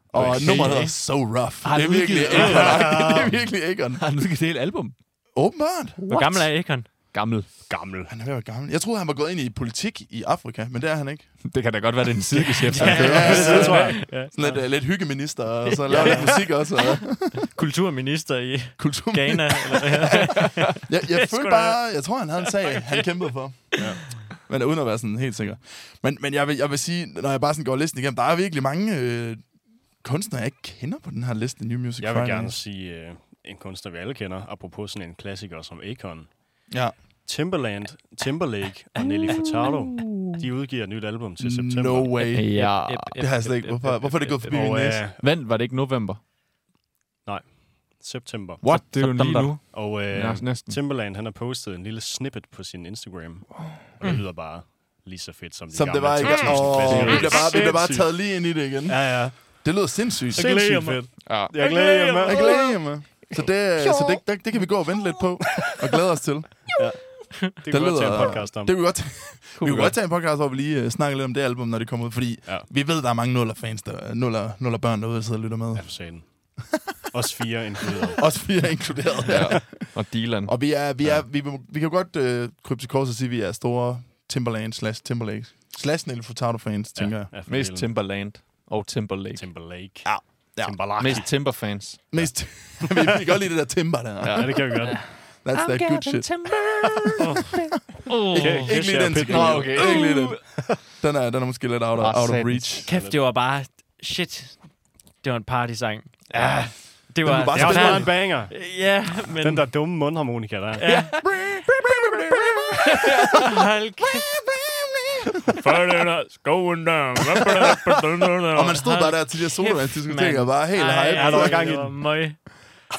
S1: Og
S4: Okay.
S1: nummeret hedder So Rough.
S2: Har
S1: det er
S2: du
S1: virkelig
S2: udgivet-
S1: Akon. Det er virkelig Akon.
S2: Har han udgivet et helt album?
S1: Åbenbart.
S3: Hvor gammel er Akon?
S2: Gammel.
S4: Gammel.
S1: Han er ved at være gammel. Jeg troede, han var gået ind i politik i Afrika, men det er han ikke.
S2: Det kan da godt være, det er en sidegeschæft, han kører.
S1: Ja,
S4: det tror jeg.
S1: Sådan lidt, uh, lidt hyggeminister, og så laver lidt musik også. Og
S3: Kulturminister i
S1: kultur.
S3: Ghana. eller hvad?
S1: Jeg, jeg
S3: Det
S1: følte
S3: skulle
S1: bare, jeg tror, han havde en sag, han kæmpede for. Ja. Men uden at være sådan helt sikker. Men, men jeg, vil, jeg vil sige, når jeg bare sådan går listen igennem, der er virkelig mange øh, kunstnere, jeg ikke kender på den her liste, New Music
S4: Jeg vil
S1: Friday.
S4: gerne sige øh, en kunstner, vi alle kender, apropos sådan en klassiker som Akon.
S1: Ja.
S4: Timberland, Timberlake og Nelly Furtado, de udgiver et nyt album til september.
S1: Ah. No way.
S2: Ja.
S3: Ep, ep,
S1: Det har jeg slet ikke.
S3: ep, ep,
S1: Hvorfor,
S3: ep,
S1: hvorfor er det
S3: ep,
S1: gået
S3: ep,
S1: forbi min
S4: Og
S1: næse?
S4: øh,
S2: Vent, var det ikke november?
S4: september.
S2: What? Det er jo
S3: Så-
S2: lige nu.
S4: Og øh,
S2: Ja, næsten.
S4: Timberland, han har postet en lille snippet på sin Instagram, og det lyder bare lige så fedt som de
S1: Mm. Som
S4: gamle
S1: det var i går.
S4: 2000
S1: Åh,
S4: klassikere.
S1: vi bliver bare, vi bliver bare
S4: Sindssygt.
S1: taget lige ind i det igen.
S4: Ja, ja.
S1: Det lyder sindssygt.
S3: glæder
S4: Sindssygt
S3: mig.
S4: fedt.
S2: Ja.
S4: Jeg glæder mig.
S1: Jeg glæder mig. Så, det, øh, så det, det, det kan vi gå og vente lidt på, og glæde os til.
S4: Det kunne
S1: lyder-
S4: godt tage en podcast om.
S1: Det kan vi godt Vi kunne godt tage en podcast, hvor vi lige uh, snakker lidt om det album, når det kommer ud, fordi
S4: Ja.
S1: ja. vi ved, der er mange nuller-fans, der, nuller, nuller børn derude, der sidder og lytter med.
S4: Ja, for satan. Os fire inkluderet.
S1: Også fire inkluderet. Ja.
S2: Ja. Og Dylan.
S1: Og vi, er, vi, er, vi, må- vi kan jo godt øh, krybe til kors og sige, at vi er store Timberland slash Timberlakes. Slash Nelly Furtado-fans, tænker jeg.
S4: Ja, for
S2: Mest
S4: helvede.
S2: Timberland og Timberlake.
S4: Timberlake.
S1: Ja. Ja.
S4: Timberlake.
S2: Mest Timberfans.
S1: Mest, vi vi kan godt lide det der Timber der.
S4: Ja, det kan vi godt.
S1: That's that good shit.
S3: Oh.
S4: Okay.
S1: Ikke lige den,
S4: Pitbull.
S1: Nå, okay. Ikke lige den. Den er, den er måske lidt out of,
S2: Ah,
S1: out of
S2: satans.
S1: reach.
S3: Kæft, det var bare... Shit. Det var en partysang.
S4: Ja.
S3: Det var...
S1: kunne bare
S4: Det var
S1: spille
S4: bare en
S3: var
S4: banger.
S3: Ja, men...
S4: Den der dumme mundharmonika der.
S3: Ja. Hold kæft. Skoven down.
S1: Og man stod bare der til de her sodavandsdiskoteker og var helt hype.
S4: ja, der var gang i
S3: altså, det var
S4: den.
S3: møg.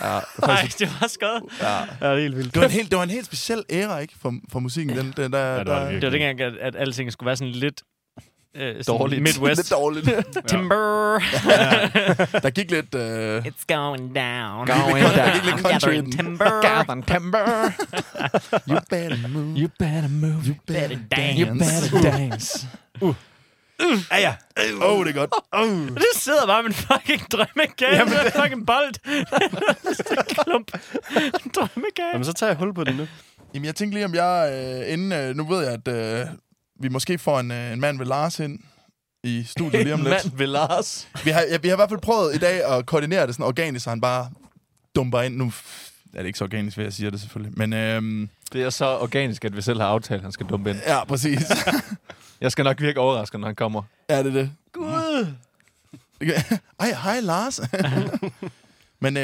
S1: Ja,
S3: Ej, det var skød.
S4: Ja, det er helt vildt.
S1: Det var en helt, det var en helt speciel æra, ikke? For, for musikken, den, den der...
S4: Ja, det var det
S1: der,
S4: virkelig.
S3: Det var dengang, at, at alting skulle være sådan lidt... Øh, sådan
S2: Dårligt.
S1: Lidt
S3: Midwest.
S1: dårligt.
S3: Timber,
S1: Der gik lidt... Øh,
S3: it's going down.
S2: Going
S1: down. gik lidt
S3: I'm
S1: country i
S3: gathering
S1: den.
S3: timber.
S2: Gavin Timber.
S1: you better move.
S2: You better move.
S1: You better
S3: better dance.
S2: You better dance.
S4: Ja, ja.
S1: Åh, oh, det er godt.
S4: Oh.
S3: Det sidder bare med en fucking drømmekage. Jamen, det er fucking bold. klump. En drømmekage.
S4: Jamen, så tager jeg hul på den nu.
S1: Jamen, jeg tænkte lige, om jeg... Øh, inden, øh, nu ved jeg, at øh, vi måske får en, øh, en mand ved Lars ind i studiet lige om lidt.
S2: Mand ved Lars.
S1: Vi har, ja, vi har i hvert fald prøvet i dag at koordinere det sådan organisk, så han bare dumper ind. Nu er det ikke så organisk, hvad jeg siger det selvfølgelig. Men øhm,
S2: Det er så organisk, at vi selv har aftalt, at han skal dumpe ind.
S1: ja, præcis.
S2: Jeg skal nok virke overrasket, når han kommer.
S1: er det det? Gud! Ej, hej Lars. Men øh, det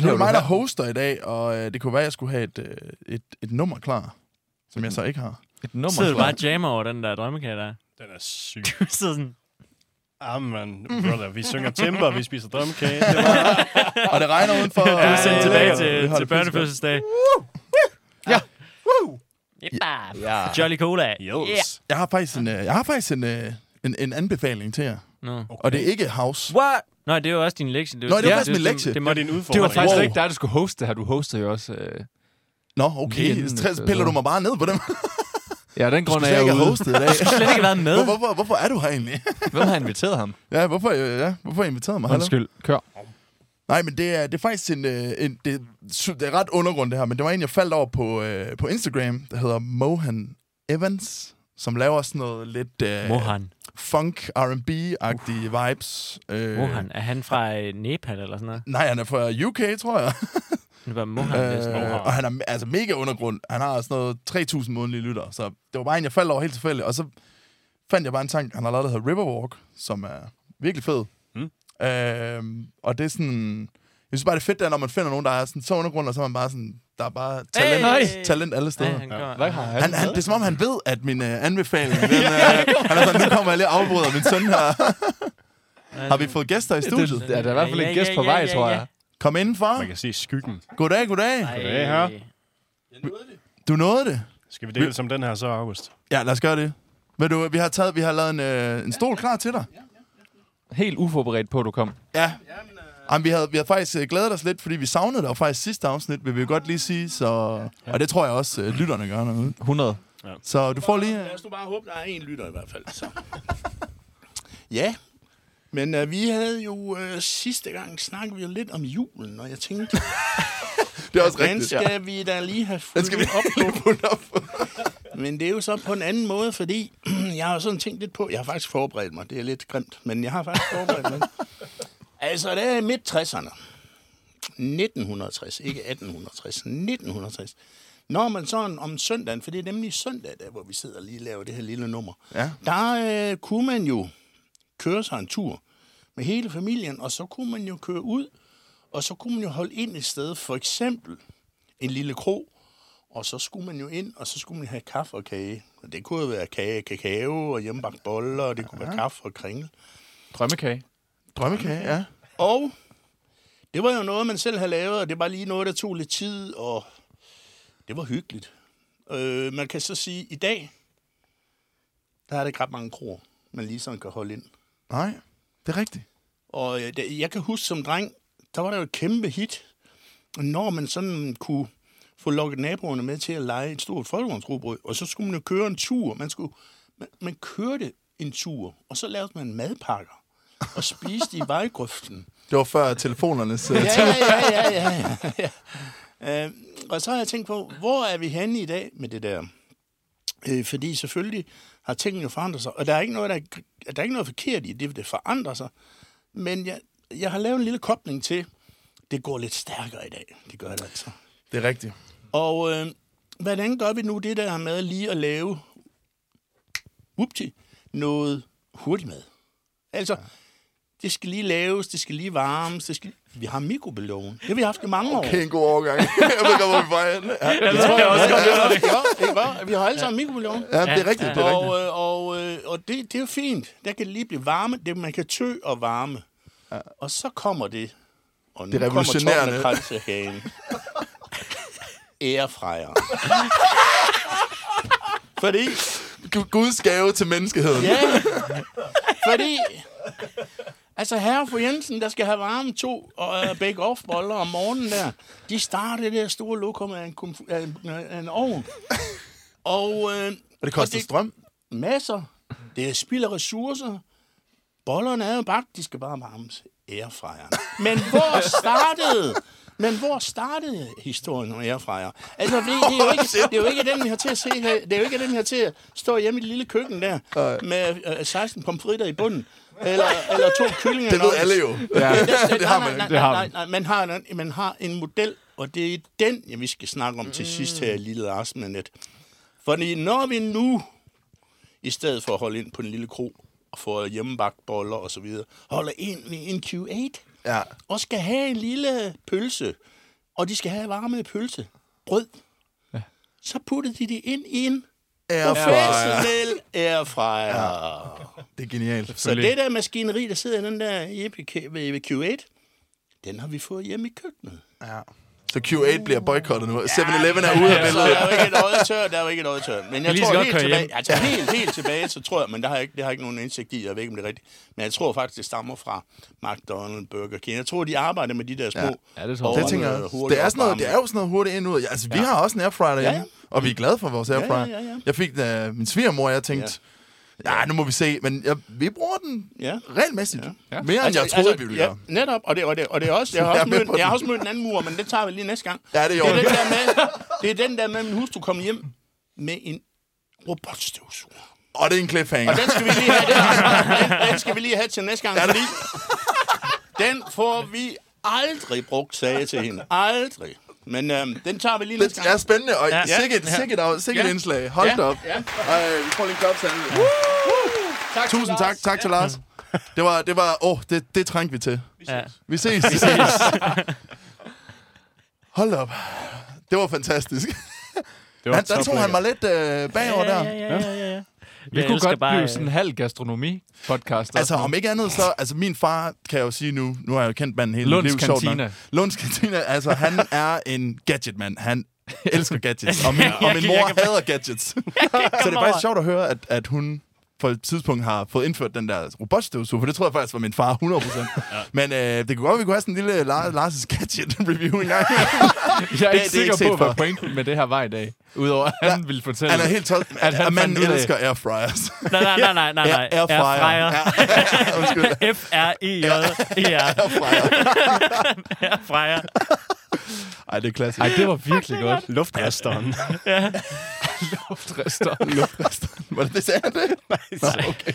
S2: laver
S1: er
S2: du
S1: mig, der
S2: her?
S1: hoster i dag, og øh, det kunne være, at jeg skulle have et, øh, et, et nummer klar, som jeg så ikke har.
S2: Et nummer.
S3: Sidder du
S2: tror
S3: bare
S2: jeg.
S3: og jammer over den der drømmekage der?
S4: Den er syg.
S3: Du sidder sådan...
S4: Ah, man, brother. Vi synger timber, vi spiser drømmekage. Det var...
S1: Og det regner udenfor.
S3: Du er
S4: det
S3: sendt
S4: er
S3: tilbage
S4: lækkert.
S1: Vi
S3: til,
S1: holder
S3: til børnefødselsdag.
S2: Ja.
S1: Woo!
S3: Ja. Jolly Cola.
S4: Yes.
S1: Jeg har faktisk en, øh, jeg har faktisk en, øh, en, en anbefaling til jer.
S3: Nå.
S1: Og det er ikke House.
S2: What?
S3: Nå, det er jo også din lektie. Det
S1: Nå, det var
S3: ja,
S1: faktisk min
S3: det-
S1: lektie.
S3: Det,
S4: Det var
S3: måtte
S4: din udfordring.
S2: Det var faktisk
S1: Wow.
S2: wow. ikke dig, der skulle hoste det her. Du hostede jo også. Øh...
S1: Nå,
S2: Lige
S1: okay.
S2: inden,
S1: Så
S2: øh,
S1: piller du
S2: så-
S1: mig bare ned på dem.
S2: Ja, den grund
S1: Du
S2: er
S1: skal
S2: jeg
S1: ikke
S2: ude.
S1: have hostet i dag.
S3: slet ikke have været med.
S1: Hvor, hvorfor, hvorfor er du her egentlig?
S2: Hvem har inviteret ham?
S1: Ja, hvorfor, øh, ja, hvorfor har I inviteret mig? Hallo?
S2: Undskyld. Kør.
S1: Nej, men det er, det er faktisk en, øh, en det, er su- det er ret undergrund det her, men det var en, jeg faldt over på, øh, på Instagram, der hedder Mohan Evans, som laver sådan noget lidt øh,
S3: Mohan.
S1: funk, R&B-agtige vibes. Øh,
S3: Mohan. Er han fra øh, Nepal eller sådan noget?
S1: Nej, han er fra UK, tror jeg.
S3: Det var Mohan. det er sådan,
S1: Øh, og han er altså mega undergrund. Han har sådan noget 3.000 månedlige lytter, så det var bare en, jeg faldt over helt tilfældigt. Og så fandt jeg bare en tank, han har lavet, der hedder Riverwalk, som er virkelig fed.
S4: Mm.
S1: Øh, og det er sådan... Jeg synes bare, det er fedt, der, når man finder nogen, der er sådan så undergrund, og så er man bare sådan... Der er bare talent,
S2: nej.
S1: talent alle
S3: Ja,
S1: steder.
S3: han gør-
S2: Hvad har han?
S1: Han, han, det er som om, han ved, at min øh, anbefaling... Den, øh, han er sådan, nu kommer jeg lige og afbryder min søn her.
S3: han-
S1: Har vi fået gæster i studiet?
S2: Ja, der er i hvert fald
S3: Ja,
S2: en
S3: ja,
S2: gæst på
S3: ja,
S2: vej,
S3: ja,
S2: tror
S3: ja.
S2: jeg.
S1: Kom indenfor.
S4: Man kan se skyggen.
S1: Goddag, goddag.
S3: Ej.
S4: Goddag, herre.
S1: Du nåede det.
S4: Skal vi dele som den her så, August?
S1: Ja, lad os gøre det. Ved du, vi har, taget, vi har lavet en, øh, en stol klar til dig.
S2: Helt uforberedt på, at du kom.
S1: Ja. Jamen, vi, havde, vi havde faktisk øh, glædet os lidt, fordi vi savnede dig jo faktisk sidste afsnit, vil vi jo godt lige sige. Så, og det tror jeg også, øh, lytterne gør noget.
S2: 100.
S1: Så du får lige... Øh,
S5: Lad os nu bare håbe, der er en lytter i hvert fald. Så.
S1: ja.
S5: Men øh, vi havde jo øh, sidste gang snakket vi jo lidt om julen, og jeg tænkte,
S1: Det er også
S5: hvordan
S1: rigtigt. Ja.
S5: skal vi da lige have
S1: Den skal vi
S5: fulgt op på?
S1: fuldt op.
S5: Men det er jo så på en anden måde, fordi jeg har jo sådan tænkt lidt på, jeg har faktisk forberedt mig, det er lidt grimt, men jeg har faktisk forberedt mig. Altså, det er midt 60'erne. 1960, ikke 1860, 1960. Når man sådan om søndagen, for det er nemlig søndag, der, hvor vi sidder og lige laver det her lille nummer,
S1: Ja.
S5: der øh, kunne man jo køre sig en tur med hele familien, og så kunne man jo køre ud, og så kunne man jo holde ind et sted, for eksempel en lille krog, og så skulle man jo ind, og så skulle man have kaffe og kage. Og det kunne jo være kage, kakao og hjemmebagt boller, og det kunne være kaffe og kringle.
S2: Drømmekage.
S1: Drømmekage, ja.
S5: Og det var jo noget, man selv havde lavet, og det var lige noget, der tog lidt tid, og det var hyggeligt. Øh, man kan så sige, at i dag, der er der ikke ret mange kroer, man lige sådan kan holde ind.
S1: Nej, det er rigtigt.
S5: Og øh, det- jeg kan huske som dreng, der var der jo et kæmpe hit, når man sådan kunne få lukket naboerne med til at lege et stort folkevognsrugbrød, og så skulle man jo køre en tur. Man, skulle, man, man kørte en tur, og så lavede man madpakker og spiste i vejgrøften.
S1: Det var før telefonernes... Øh,
S5: Ja, ja, ja, ja, ja. ja. ja. Øh, og så har jeg tænkt på, hvor er vi henne i dag med det der? Øh, fordi selvfølgelig har tingene jo forandret sig, og der er ikke noget, der er, gr- der er ikke noget forkert i det, for det forandrer sig. Men jeg, jeg har lavet en lille kobling til, det går lidt stærkere i dag. Det gør det altså.
S1: det er rigtigt.
S5: Og øh, hvordan gør vi nu det der med lige at lave whoopty, noget hurtigt mad? Altså, det skal lige laves, det skal lige varmes, det skal... Vi har mikrobølgeovnen. Det har vi haft i mange år.
S1: Okay, en god overgang. jeg ved godt, hvor vi var henne. Ja,
S3: Det tror jeg også.
S5: Ja, ja, ikke hva'? Ikke hva'? Vi har alle sammen mikrobølgeovn.
S1: ja, det er rigtigt, det er rigtigt.
S5: Og, øh, og, øh, og det, det er jo fint. Der kan det lige blive varme. Det, man kan tø og varme. Og så kommer det. Og nu
S1: Det er revolutionerende.
S5: kommer Torben Ærefrejer. Fordi
S1: Gu- Guds gave til menneskeheden.
S5: Ja, fordi... Altså, herre for Jensen, der skal have varme to og øh, bake off boller om morgenen der, de starter det der store lokum af en, komf- af en, af en ovn. Og, øh,
S1: Og det koster
S5: og
S1: strøm.
S5: Masser. Det er spild af ressourcer. Bollerne er jo bagt, de skal bare varmes. Airfryer. Men hvor startede... Men hvor startede historien om airfryer? Altså, det, det, er jo ikke, det er jo ikke den, vi har til at se her. Det er jo ikke den, vi har til at stå hjemme i det lille køkken der, med øh, 16 pomfritter i bunden, eller, eller to kyllinger.
S1: Det ved
S5: nok.
S1: alle jo.
S2: Ja.
S5: det,
S1: har man
S5: nej, nej,
S2: Det har
S5: nej,
S2: man.
S5: nej, man. har, en- man har en model, og det er den, jeg, vi skal snakke om til sidst
S1: Mm.
S5: her i Lille Arsmenet. Fordi når vi nu, i stedet for at holde ind på den lille kro, og få hjemmebagt boller og så videre, holder ind med en Q8,
S1: Ja.
S5: og skal have en lille pølse, og de skal have varmet pølse, brød, så puttede de det ind i en
S1: Airfryer.
S5: professionel airfryer. Ja.
S1: Det er genialt.
S5: Så det der maskineri, der sidder i den der Epic ved Q8, den har vi fået hjemme i køkkenet.
S1: Ja. Så Q8 bliver boykottet nu. 7-Eleven er ude af
S5: Altså,
S1: billedet.
S5: der er jo ikke et øje tør, der er jo ikke et øje tør. Men jeg
S3: lige så
S5: tror
S3: godt
S5: helt
S3: køre
S5: tilbage,
S3: hjem.
S5: altså helt, helt tilbage, så tror jeg, men der har jeg, ikke, det har jeg ikke nogen indsigt i, jeg ved ikke, om det er rigtigt. Men jeg tror faktisk, det stammer fra McDonald's, Burger King. Jeg tror, de arbejder med de der små.
S2: Ja, det tror jeg.
S5: Og
S1: Det tænker jeg.
S5: noget
S1: også.
S5: hurtigt
S1: Det er, sådan noget,
S5: opvarmning.
S1: det er jo sådan noget hurtigt ind og ud. Ja, Altså, vi har også en airfryer derhjemme,
S5: Ja,
S1: og vi er glade for vores airfryer.
S5: ja, ja.
S1: Jeg fik da min svigermor, og jeg tænkte, ja, nu må vi se, men jeg, vi bruger den
S5: Ja. Altså,
S1: regelmæssigt.
S2: Ja.
S1: Mere end jeg troede, vi ville
S5: ja,
S1: gøre.
S5: netop, og det, og det, og det er også, jeg har
S1: Jeg er
S5: også,
S1: med
S5: mødt,
S1: på
S5: jeg har
S1: den.
S5: også mødt en anden mur, men det tager vi lige næste gang.
S1: Ja, det er
S5: Det er den
S1: jo.
S5: der med, det er den der med min hus, du kommer hjem med en robotstøvsuger.
S1: Og det er en cliffhanger.
S5: Og den skal vi lige have, den, den, den skal vi lige have til næste gang, fordi den får vi aldrig brugt, sagde jeg til hende. Aldrig. Men øhm, den tager vi lige
S1: Det
S5: næste
S1: er
S5: gang.
S1: spændende, og
S3: Ja.
S1: ja. sikkert, sikkert, og sikkert
S5: Ja.
S1: indslag. Hold
S5: Ja.
S1: da op.
S5: Ja.
S1: Ej, vi får lige en klap sammen.
S5: Tak til
S1: Tusind
S5: Lars.
S1: tak. Tak til Lars. Det var, det var, åh, det, det trængte vi til.
S3: Ja.
S1: Vi ses. Vi ses. Hold op. Det var fantastisk.
S4: Det
S1: Han, der tog han mig lidt øh, bagover
S3: ja,
S1: der.
S3: ja, ja, ja, ja, ja.
S2: Vi kunne godt blive
S3: øh,
S2: sådan en halv gastronomi-podcast.
S1: Altså, om ikke andet så... Altså, min far, kan jeg jo sige nu... Nu har jeg jo kendt manden hele
S2: Lunds
S1: mit liv, sjovt nok.
S2: Kantine.
S1: Lunds Kantine. Altså, han er en gadgetmand. Han elsker gadgets. Og min, og min
S3: kan-
S1: mor
S3: jeg kan-
S1: hader gadgets. så det er faktisk sjovt at høre, at, at hun på et tidspunkt har fået indført den der robotstøvsuger, for det tror jeg faktisk var min far 100%. ja. Men øh, det kunne godt, at vi kunne have sådan en lille La- Lars' gadget-review en gang.
S2: Jeg er
S1: det-
S2: ikke
S1: det er ikke
S2: sikker
S1: set
S2: på, hvad
S1: før.
S2: pointen med det her var i dag. Udover at han ville fortælle.
S1: Han er helt tosset.
S2: At han
S1: At man
S2: fandt ud af-
S1: elsker airfryers.
S3: Nej, nej, nej, nej, nej, nej.
S1: Airfryer.
S3: Airfryer.
S1: Ja. Undskyld.
S3: E F-R-E-J-E-R.
S1: Airfryer.
S3: Airfryer.
S1: Ej, det er klassisk.
S2: Ej, det var virkelig godt.
S4: Luftresteren.
S2: Luftrester.
S1: Var det det, sagde han det? Nej, okay.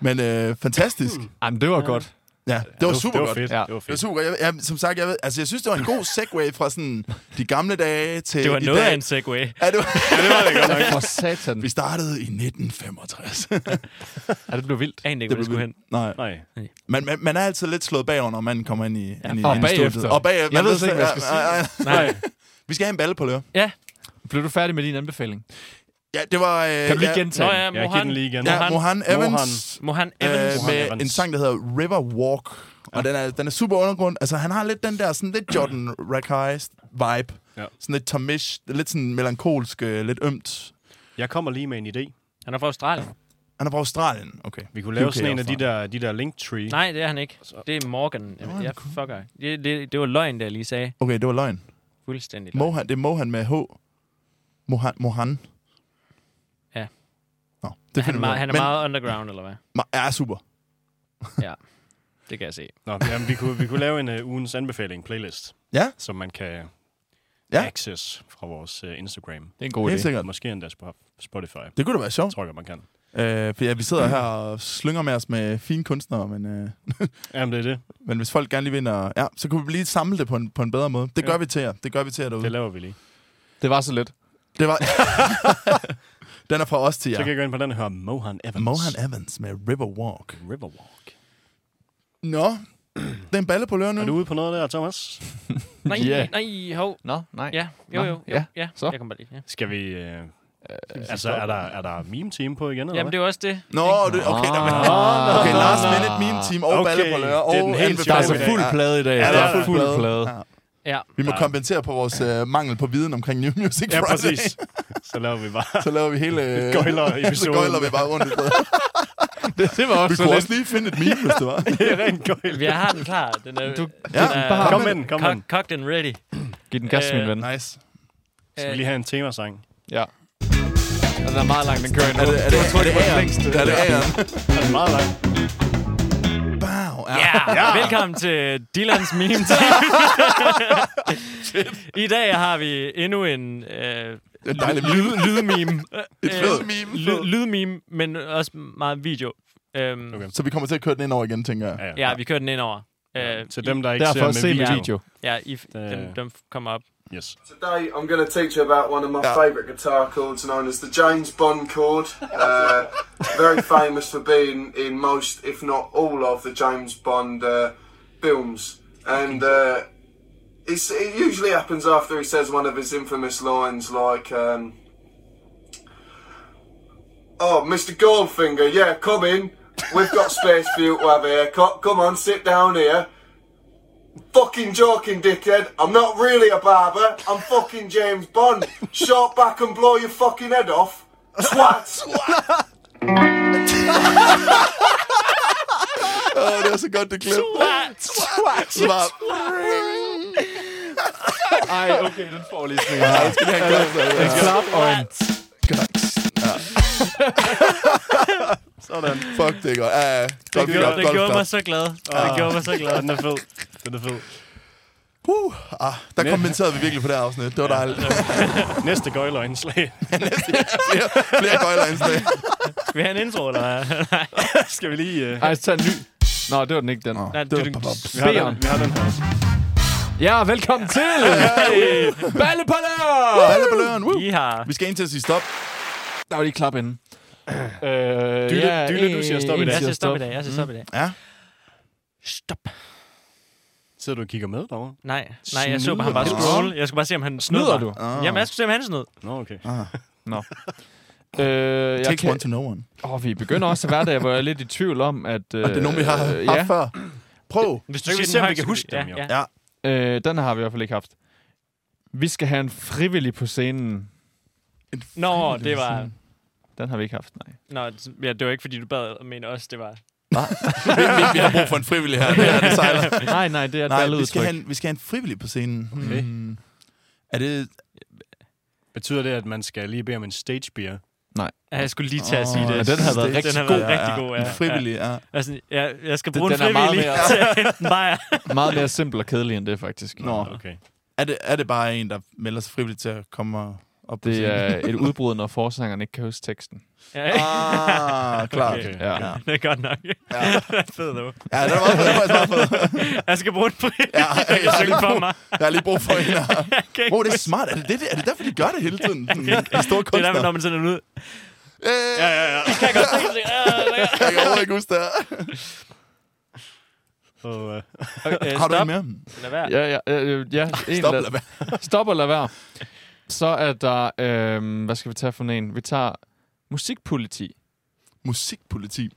S1: Men øh, fantastisk.
S2: Jamen, det var godt.
S1: Ja, det var super
S4: det var
S1: godt.
S4: fedt.
S2: Hmm. Ja.
S4: Det var
S1: Det var
S4: fedt.
S1: super godt. Jeg, jeg, som sagt, jeg, ved- altså, jeg synes, det var en god segue fra sådan de gamle dage til
S3: Det var
S1: i
S3: noget
S1: dag.
S3: af en segway.
S1: Ja, det var,
S4: Det var det godt nok.
S2: For satan.
S1: vi startede i 1965.
S2: Ja, det blev vildt.
S3: Jeg anede ikke, hvor det skulle hen.
S1: Nej.
S4: Nej.
S1: Man, man, man er altid lidt slået bagover, når man kommer ind i, ja, ind i,
S2: og
S1: ind i studiet.
S2: bagefter.
S1: Og bagefter.
S2: Jeg
S1: Man
S2: ved slet ikke, hvad jeg skal
S1: ja, ja, ja.
S3: Nej.
S1: Vi skal have en balle på lør.
S3: Ja.
S2: Blev du færdig med din anbefaling?
S1: Ja, det var... Øh,
S2: Kan du lige
S1: ja,
S2: gentage
S3: Nå
S2: den?
S3: ja,
S4: Jeg giver
S3: Mohan.
S4: den lige igen.
S1: ja,
S3: Mohan-
S1: Mohan Evans.
S3: Mohan
S1: øh,
S3: Evans.
S4: Mohan
S1: med
S4: Evans.
S1: en sang, der hedder River Walk. Og den er, den er super undergrund. Altså, han har lidt den der, sådan lidt Jordan Rakai-vibe.
S4: Ja.
S1: Sådan lidt tamish, lidt sådan melankolsk, øh, lidt ømt.
S4: Jeg kommer lige med en idé.
S3: Han er fra Australien.
S1: Han er fra Australien. Okay.
S4: Vi kunne lave
S1: UK
S4: sådan en af de
S1: herfra.
S4: der, de der Linktree.
S3: Nej, det er han ikke. Det er Morgan. Jamen, jeg fucker. Det, det, det var løgn, der lige sagde.
S1: Okay, det var løgn.
S3: Fuldstændig løgn.
S1: Mohan, det er Mohan med H. Mohan. Mohan.
S3: Ja.
S1: Nå, det
S3: Han er,
S1: finder
S3: meget, han er
S1: Men,
S3: meget underground, eller hvad?
S1: ma- er super.
S3: Ja, det kan jeg se.
S4: Nå, jamen, vi, kunne, vi kunne lave en uh, ugens anbefaling playlist,
S1: Ja.
S4: som man kan
S1: Ja.
S4: ja. access fra vores uh, Instagram.
S2: Det er en god
S1: Helt
S2: idé.
S1: sikkert.
S4: Måske endda på Spotify. Jeg
S1: Det kunne da være sjovt.
S4: tror jeg, godt, man kan.
S1: Øh, for ja, vi sidder her og slynger med os med fine kunstnere, men, øh,
S4: Jamen, det er det.
S1: men hvis folk gerne lige vinder, ja, så kunne vi lige samle det på en, på en bedre måde. Det gør vi til jer. Det gør vi til jer derude.
S4: Det laver vi lige.
S2: Det var så let.
S1: Det var... den er fra os til
S4: Så
S1: jer.
S4: kan jeg gå ind på den her Mohan Evans.
S1: Mohan Evans med Riverwalk.
S4: Riverwalk.
S1: Nå, det er en balle på lørdag nu.
S4: Er du ude på noget der, Thomas?
S3: Nej,
S2: Ja.
S3: nej, hov.
S2: Nå, nej.
S3: Ja, jo,
S2: Nå,
S3: jo.
S2: ja.
S3: jo ja.
S2: Så?
S3: Jeg kom bare lige. Ja.
S4: Skal vi... Uh, altså, er der, er der meme-team på igen, eller
S3: Jamen, det er jo også det.
S1: Nå, det, okay, der
S4: Ah.
S1: var... Okay, Lars Minute Meme Team og
S4: Okay,
S1: balle på lørdag.
S4: det er altså den
S1: og
S4: helt
S1: anbefaling.
S2: Der er så
S4: Ja.
S2: fuld plade i dag.
S1: Ja, der
S4: Ja,
S1: er fuld plade. Ja.
S3: Ja.
S1: Vi må kompensere på vores øh, mangel på viden omkring New Music
S4: Ja,
S1: Friday.
S4: præcis. Så laver vi bare...
S1: Så laver vi hele... Øh, så
S4: Gøjler-episoden.
S1: gøjler vi bare rundt i stedet.
S2: Det, det var
S1: Vi
S2: også så
S1: kunne
S2: let.
S1: også lige finde et meme, hvis det var.
S4: Det er rent gøjl.
S3: Vi har den klar. Den er, du,
S1: Ja,
S3: den er
S2: bare-
S4: Kom med den, kom med den.
S3: co- cocked and ready.
S2: Giv den gas,
S3: Øh,
S2: min ven.
S1: Nice.
S4: Skal vi lige have en temasang?
S2: Ja. Den er meget lang, den kører endnu.
S1: Er det, er det,
S2: Jeg tror
S1: er det,
S2: ikke, det var den længste.
S1: A'eren? Er det A'eren?
S4: Det er meget langt.
S1: Bow. Ja.
S3: Ja, ja, velkommen til Dylans Meme Time. I dag har vi endnu en øh,
S1: Det er dejligt.
S3: lyd, lydmeme.
S1: Et
S3: Øh,
S1: fedt meme.
S3: Lyd, lydmeme, men også meget video. Øhm,
S4: Okay.
S1: Så vi kommer til at køre den ind over igen, tænker jeg.
S4: Ja, ja.
S3: Ja, vi kører den ind over. Øh,
S4: Til dem, der ikke
S2: Derfor
S4: ser med
S2: se
S4: video.
S2: med
S4: video.
S2: video.
S3: ja, I, f-
S4: Øh.
S3: dem, dem kommer op.
S4: Yes.
S6: Today, I'm going to teach you about one of my
S1: Yeah.
S6: favourite guitar chords known as the James Bond chord. Uh, very famous for being in most, if not all, of the James Bond uh, films. And uh, it's, it usually happens after he says one of his infamous lines like, um, Oh, Mr. Goldfinger, yeah, come in. We've got space for you to have here. Co- Come on, sit down here. Fucking joking, dickhead. I'm not really a barber. I'm fucking James Bond. Short back and blow your fucking head off. Swat!
S1: Åh, det er så godt, det klip. Swat! Swat! Swat!
S2: Ej, okay, den får lige sådan
S1: Ja, det skal vi have en klap for, ja.
S2: en klap og en...
S1: Ja. Sådan. Fuck, det er godt. Ja, ja.
S3: Det
S1: Godt
S3: gjorde,
S1: klap,
S3: det
S1: godt
S3: gjorde
S1: klap.
S3: mig så glad. Det gjorde mig så glad.
S4: Den er fed. Den er fed.
S1: Uh, ah, der kommenterede vi virkelig på det her afsnit. Det var dejligt.
S4: Næste gøjløjindslag.
S1: Flere, flere gøjlerindslag.
S3: Vil I have en intro, eller hvad? Nej.
S4: Skal vi lige... Uh...
S2: Ej, så tag en ny. Nå, det var den ikke, den.
S1: Nå,
S3: Nej,
S1: det var
S3: du-
S1: bare-
S4: Vi har, den,
S2: Beren.
S4: vi har den her også.
S2: Ja, velkommen til! Ballepalør!
S1: Alle på løren. Woo.
S3: I har...
S1: Vi skal ind til at sige stop.
S2: Der var lige klap inden. Øh,
S4: Dylle- Dylle, du siger stop i
S2: en
S4: dag.
S3: Jeg
S2: siger
S3: siger stop i dag. Jeg siger stop i dag.
S1: Ja.
S3: Stop.
S4: Sidder du og kigger med derovre?
S3: Nej, nej, jeg så bare, han
S4: Snyder
S3: bare
S4: du?
S3: scrolle. Jeg skulle bare se, om han snød
S2: Snyder du?
S3: mig.
S1: Ah.
S3: Jamen, jeg skulle se, om han snød.
S4: Nå, okay.
S2: Øh, jeg
S1: Takes
S2: kan...
S1: one to know one.
S2: Åh, vi begynder også at være der, hvor jeg er lidt i tvivl om, at... Øh,
S1: Det er nogen, vi har
S2: øh,
S1: haft før. Prøv.
S3: Hvis
S4: Så kan vi
S3: siger
S4: se,
S3: den
S4: om vi
S3: højt,
S4: kan
S3: så vi-
S4: huske dem, jo.
S3: Ja, ja.
S1: Ja.
S2: Øh, den har vi i hvert fald ikke haft. Vi skal have en frivillig på scenen.
S3: Nå, det var...
S2: Den har vi ikke haft, nej.
S3: Nå, ja, det var ikke, fordi du bad men også, det var...
S1: Vi, vi, vi har brug for en frivillig her. Det her, det sejler.
S2: nej, nej, det er et
S1: Nej, vi skal,
S2: balletudtryk.
S1: have en, vi skal have en frivillig på scenen.
S4: Okay.
S1: Hmm. Er det...
S4: Betyder det, at man skal lige bede om en stage beer?
S3: Ja, jeg skulle lige til at
S1: Åh,
S3: sige det.
S1: ja,
S2: den har været
S1: det-
S2: rigtig
S3: den har
S2: god.
S3: Været rigtig god, ja.
S1: En frivillig, ja.
S3: Ja. Altså, jeg, jeg skal
S2: Det-
S3: bruge
S2: den
S3: en
S2: er meget
S3: frivillig
S2: mere-
S3: til at hente en bajer.
S2: Meget mere simpel og kedelig end det, faktisk.
S1: Nå.
S4: Okay.
S1: Er det, er det bare en, der melder sig frivilligt til at komme og- op på
S2: Det
S1: scenen?
S2: er et udbrud, når forsangeren ikke kan huske teksten.
S3: Ja,
S1: Ah, klart.
S4: Okay.
S2: Ja.
S1: Ja.
S3: det er godt nok.
S1: Ja.
S3: Fed nu.
S1: Ja, det var meget fed. Det var faktisk meget fed.
S3: Jeg skal bruge en frivillig,
S1: Ja,
S3: der
S1: jeg
S3: kan
S1: har
S3: synge
S1: lige
S3: for
S1: brug-
S3: mig.
S1: Jeg har lige brug for en her.
S3: Jeg kan ikke
S1: Wow, det er
S3: huske-
S1: smart. Er det, det, er det derfor, de gør det hele tiden? De store
S3: Det er
S1: kunstnere.
S3: derfor, når man sender den ud.
S1: Øh,
S3: Ja, ja, ja. Kan jeg godt se det. Øh, Ja, ja, ja.
S1: Jeg kan overhovedet ikke huske det her.
S4: Og, uh,
S3: Okay,
S1: Har du
S3: Øh, stop.
S1: en mere?
S3: Lad være.
S2: Ja, ja, øh, øh, ja. En,
S1: Stop,
S2: lad-
S1: lad være.
S2: Stop og lad være. Så er der... Øh, hvad skal vi tage for en? Vi tager musikpoliti.
S1: Musikpoliti.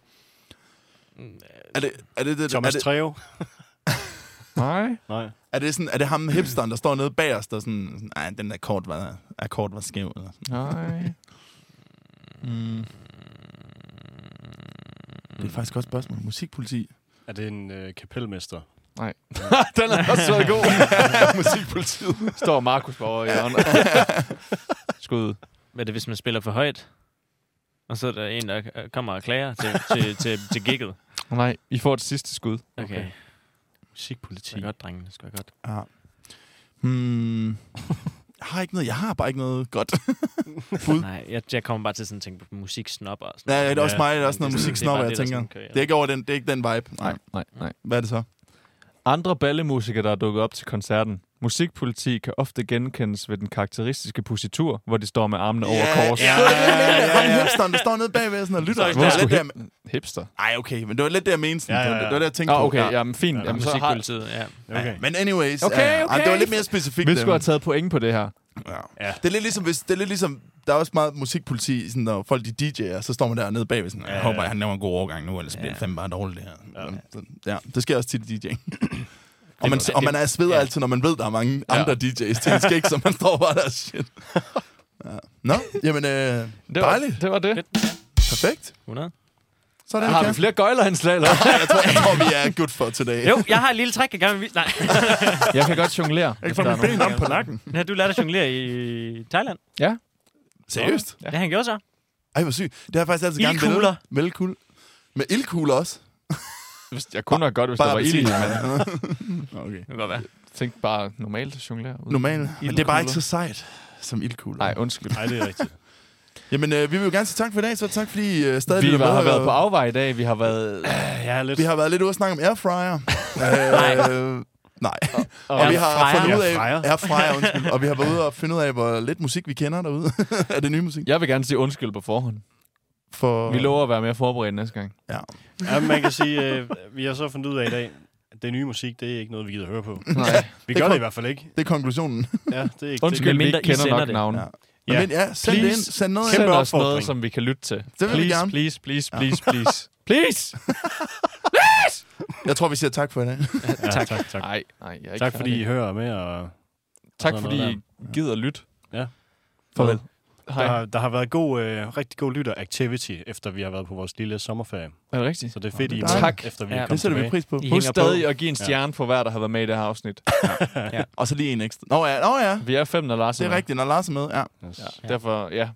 S3: Mm,
S1: Er det, er det, det, er
S4: Thomas
S1: det,
S4: Treo?
S2: Nej.
S4: Nej.
S1: er det, sådan, er det ham hipsteren, der står nede bag os, der sådan, sådan, nej, den der akkord var, akkord var skæv. Eller?
S2: Nej.
S1: Mm. Det er faktisk et godt spørgsmål. Musikpoliti.
S4: Er det en øh, kapelmester?
S2: den er også så god.
S1: Musikpolitiet.
S2: Står Markus over i hjørnet. Skud.
S3: Hvad er det, hvis man spiller for højt? Og så er der en, der øh, kommer og klager til, til, til, til gigget.
S2: Nej, I får et sidste skud.
S3: Okay. okay.
S4: Musikpoliti.
S3: Det er godt, drengene. Det skal være godt.
S1: Ja. Hmm. Jeg har ikke noget. Jeg har bare ikke noget godt. Bud.
S3: Nej, jeg, jeg kommer bare til sådan at tænke på musiksnopper og sådan
S1: Nej, det er også
S4: Ja,
S1: mig. Det er også
S3: men
S1: noget
S3: det- det er
S1: musiksnopper, jeg
S3: bare det, der
S1: tænker.
S3: sådan kører.
S1: Det er ikke over den, det er ikke den vibe. Nej.
S2: nej, nej.
S1: Hvad er det så?
S2: Andre ballemusikere, der er dukket op til koncerten. Musikpoliti kan ofte genkendes ved den karakteristiske positur, hvor de står med armene over kors.
S1: Ja, ja, ja. Ham hipsteren, der står nede bagved sådan og lytter.
S3: Sorry,
S1: Det var
S2: Hvor
S1: lidt
S2: skulle
S1: der,
S2: hip- hipster?
S1: ej, okay, men det var lidt der, jeg mente. sådan.
S4: Ja, ja,
S1: Det var-
S4: ja.
S1: Det var det, jeg tænkte
S2: Nå,
S1: på.
S2: okay, jamen fint.
S4: Ja,
S2: Jamen, så har...
S3: Musikpolitiet, ja.
S4: Okay.
S1: Men anyways,
S2: Okay,
S1: ja. Ej,
S2: okay.
S1: det var lidt mere specifikt.
S2: Vi skulle
S1: øh.
S2: have taget point på det her.
S1: Ja.
S4: Ja.
S1: Det er lidt ligesom, hvis, det er lidt ligesom der er også meget musikpoliti, sådan, når folk de DJ'er, så står man der nede bagved sådan, jeg
S4: Ja.
S1: håber, han laver en god overgang nu, ellers bliver det fandme bare dårligt det her. Ja. ja. det sker også tit i DJ'ing. og, man, og man er sveder altid, når man ved, der er mange andre DJ's til en skæg, så man står bare der, shit. Ja. Nå, jamen, øh,
S2: Det var
S1: dejligt.
S2: Det var det.
S1: Perfekt.
S3: 100.
S1: Sådan,
S2: Har
S1: kan.
S2: vi flere gøjlerindslag, eller?
S1: jeg, tror, jeg tror, vi er good for today.
S3: Jo, jeg har et lille trick, jeg gerne vil vise. Nej,
S2: Jeg kan godt jonglere. Jeg
S1: på nakken.
S3: har du lært at jonglere i Thailand?
S2: Ja.
S1: Seriøst?
S3: Ja. Det han gjorde så.
S1: Ej, hvor sygt. Det har jeg faktisk altid gerne villet.
S3: Ildkugler.
S1: Velkugler. Med ildkugler også.
S2: Hvis- Jeg kunne nok godt, hvis der var ild i, men
S1: men... okay.
S3: Det kan godt være.
S2: tænk bare normalt at jonglere. ud.
S1: Normalt. Men det er
S2: Ildkugler.
S1: bare ikke så sejt som ildkugler.
S2: Nej, undskyld.
S4: Nej, det er rigtigt.
S1: Jamen, øh, vi vil jo gerne sige tak for i dag, så tak fordi øh, stadig
S2: Vi
S1: lytter
S2: var,
S1: med,
S2: har været
S1: og
S2: på afvej i dag. Vi har været...
S4: Jeg er lidt...
S1: Vi har været lidt ude at snakke om airfryer. øh, nej. Og, vi har
S3: airfryer.
S1: fundet ud af...
S4: Airfryer.
S1: Airfryer, undskyld. Og vi har været ude og finde ud af, hvor lidt musik vi kender derude. er det nye musik?
S2: Jeg vil gerne sige undskyld på forhånd.
S1: For,
S2: Vi lover at være mere forberedt næste gang.
S1: Ja.
S4: Ja, man kan sige, øh, vi har så fundet ud af i dag, at det nye musik, det er ikke noget, vi gider høre på.
S2: Nej.
S4: Vi
S1: Det
S4: gør
S1: kom-
S4: det i hvert fald ikke.
S1: Det er konklusionen.
S4: Ja, det er ikke
S2: Undskyld, vi
S3: Medmindre
S2: ikke
S3: I
S2: kender
S3: sender
S2: nok
S3: det.
S2: navne.
S1: Ja.
S4: Ja.
S1: Ja. Men ja, send
S2: Please.
S1: det ind. Send noget
S4: Kæmpe
S2: Send os noget,
S4: opfordring.
S2: som vi kan lytte til.
S1: vil vi
S2: please,
S1: gerne.
S2: please, please, please, please. please!
S1: ind. Jeg tror, vi siger tak for i dag.
S4: det. Ja, tak, tak, tak.
S2: Nej, nej, jeg er ikke
S4: Tak fordi I
S2: færdig.
S4: hører med, og
S2: tak
S4: og sådan
S2: fordi
S4: noget
S2: I gider lytte.
S4: Ja.
S2: Farvel.
S4: der
S2: Hej.
S4: har, der har været god, øh, rigtig god lytter-activity, efter vi har været på vores lille sommerferie.
S2: Er det rigtigt?
S4: Så det er fedt, I
S1: det
S4: er
S1: er
S4: med,
S2: dejligt.
S4: efter vi
S3: Ja, det
S4: er
S1: Det
S4: kommet
S1: sætter vi
S4: tilbage.
S1: pris på.
S3: I
S2: Husk
S3: hænger på.
S2: stadig at give en stjerne for hver, der har været med i det her afsnit.
S1: Og så lige en ekstra. Nå ja, nå ja.
S2: Vi er fem, når Lars
S1: Det er
S2: med.
S1: rigtigt, når Lars er med. Ja.
S4: Yes.
S2: Ja. Derfor, ja.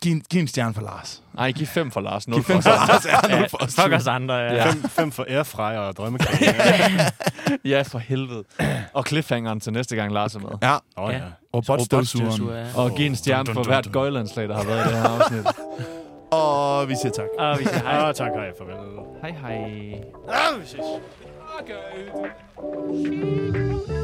S1: Giv, en, giv en stjerne for Lars.
S2: Nej, giv fem for Lars. Nul
S1: Giv
S2: for
S1: fem for
S2: os.
S1: Lars. Ja,
S3: Ja,
S1: nul for os.
S3: fuck os andre. Ja.
S2: Ja.
S4: Fem, fem for airfryer og drømmekage. ja.
S2: Ja, for helvede. Og cliffhangeren til næste gang, Lars er med.
S1: Ja,
S4: Nå, ja.
S1: robotstøvsugeren.
S3: Robotstøvsuger, ja.
S2: Og giv en stjerne for hvert gøjlandslag, der har været i det her afsnit.
S1: Og vi siger tak.
S3: Og vi siger hej.
S4: Ah, tak, hej, farvel.
S3: Hej hej.
S4: Ah, vi ses.
S2: Okay.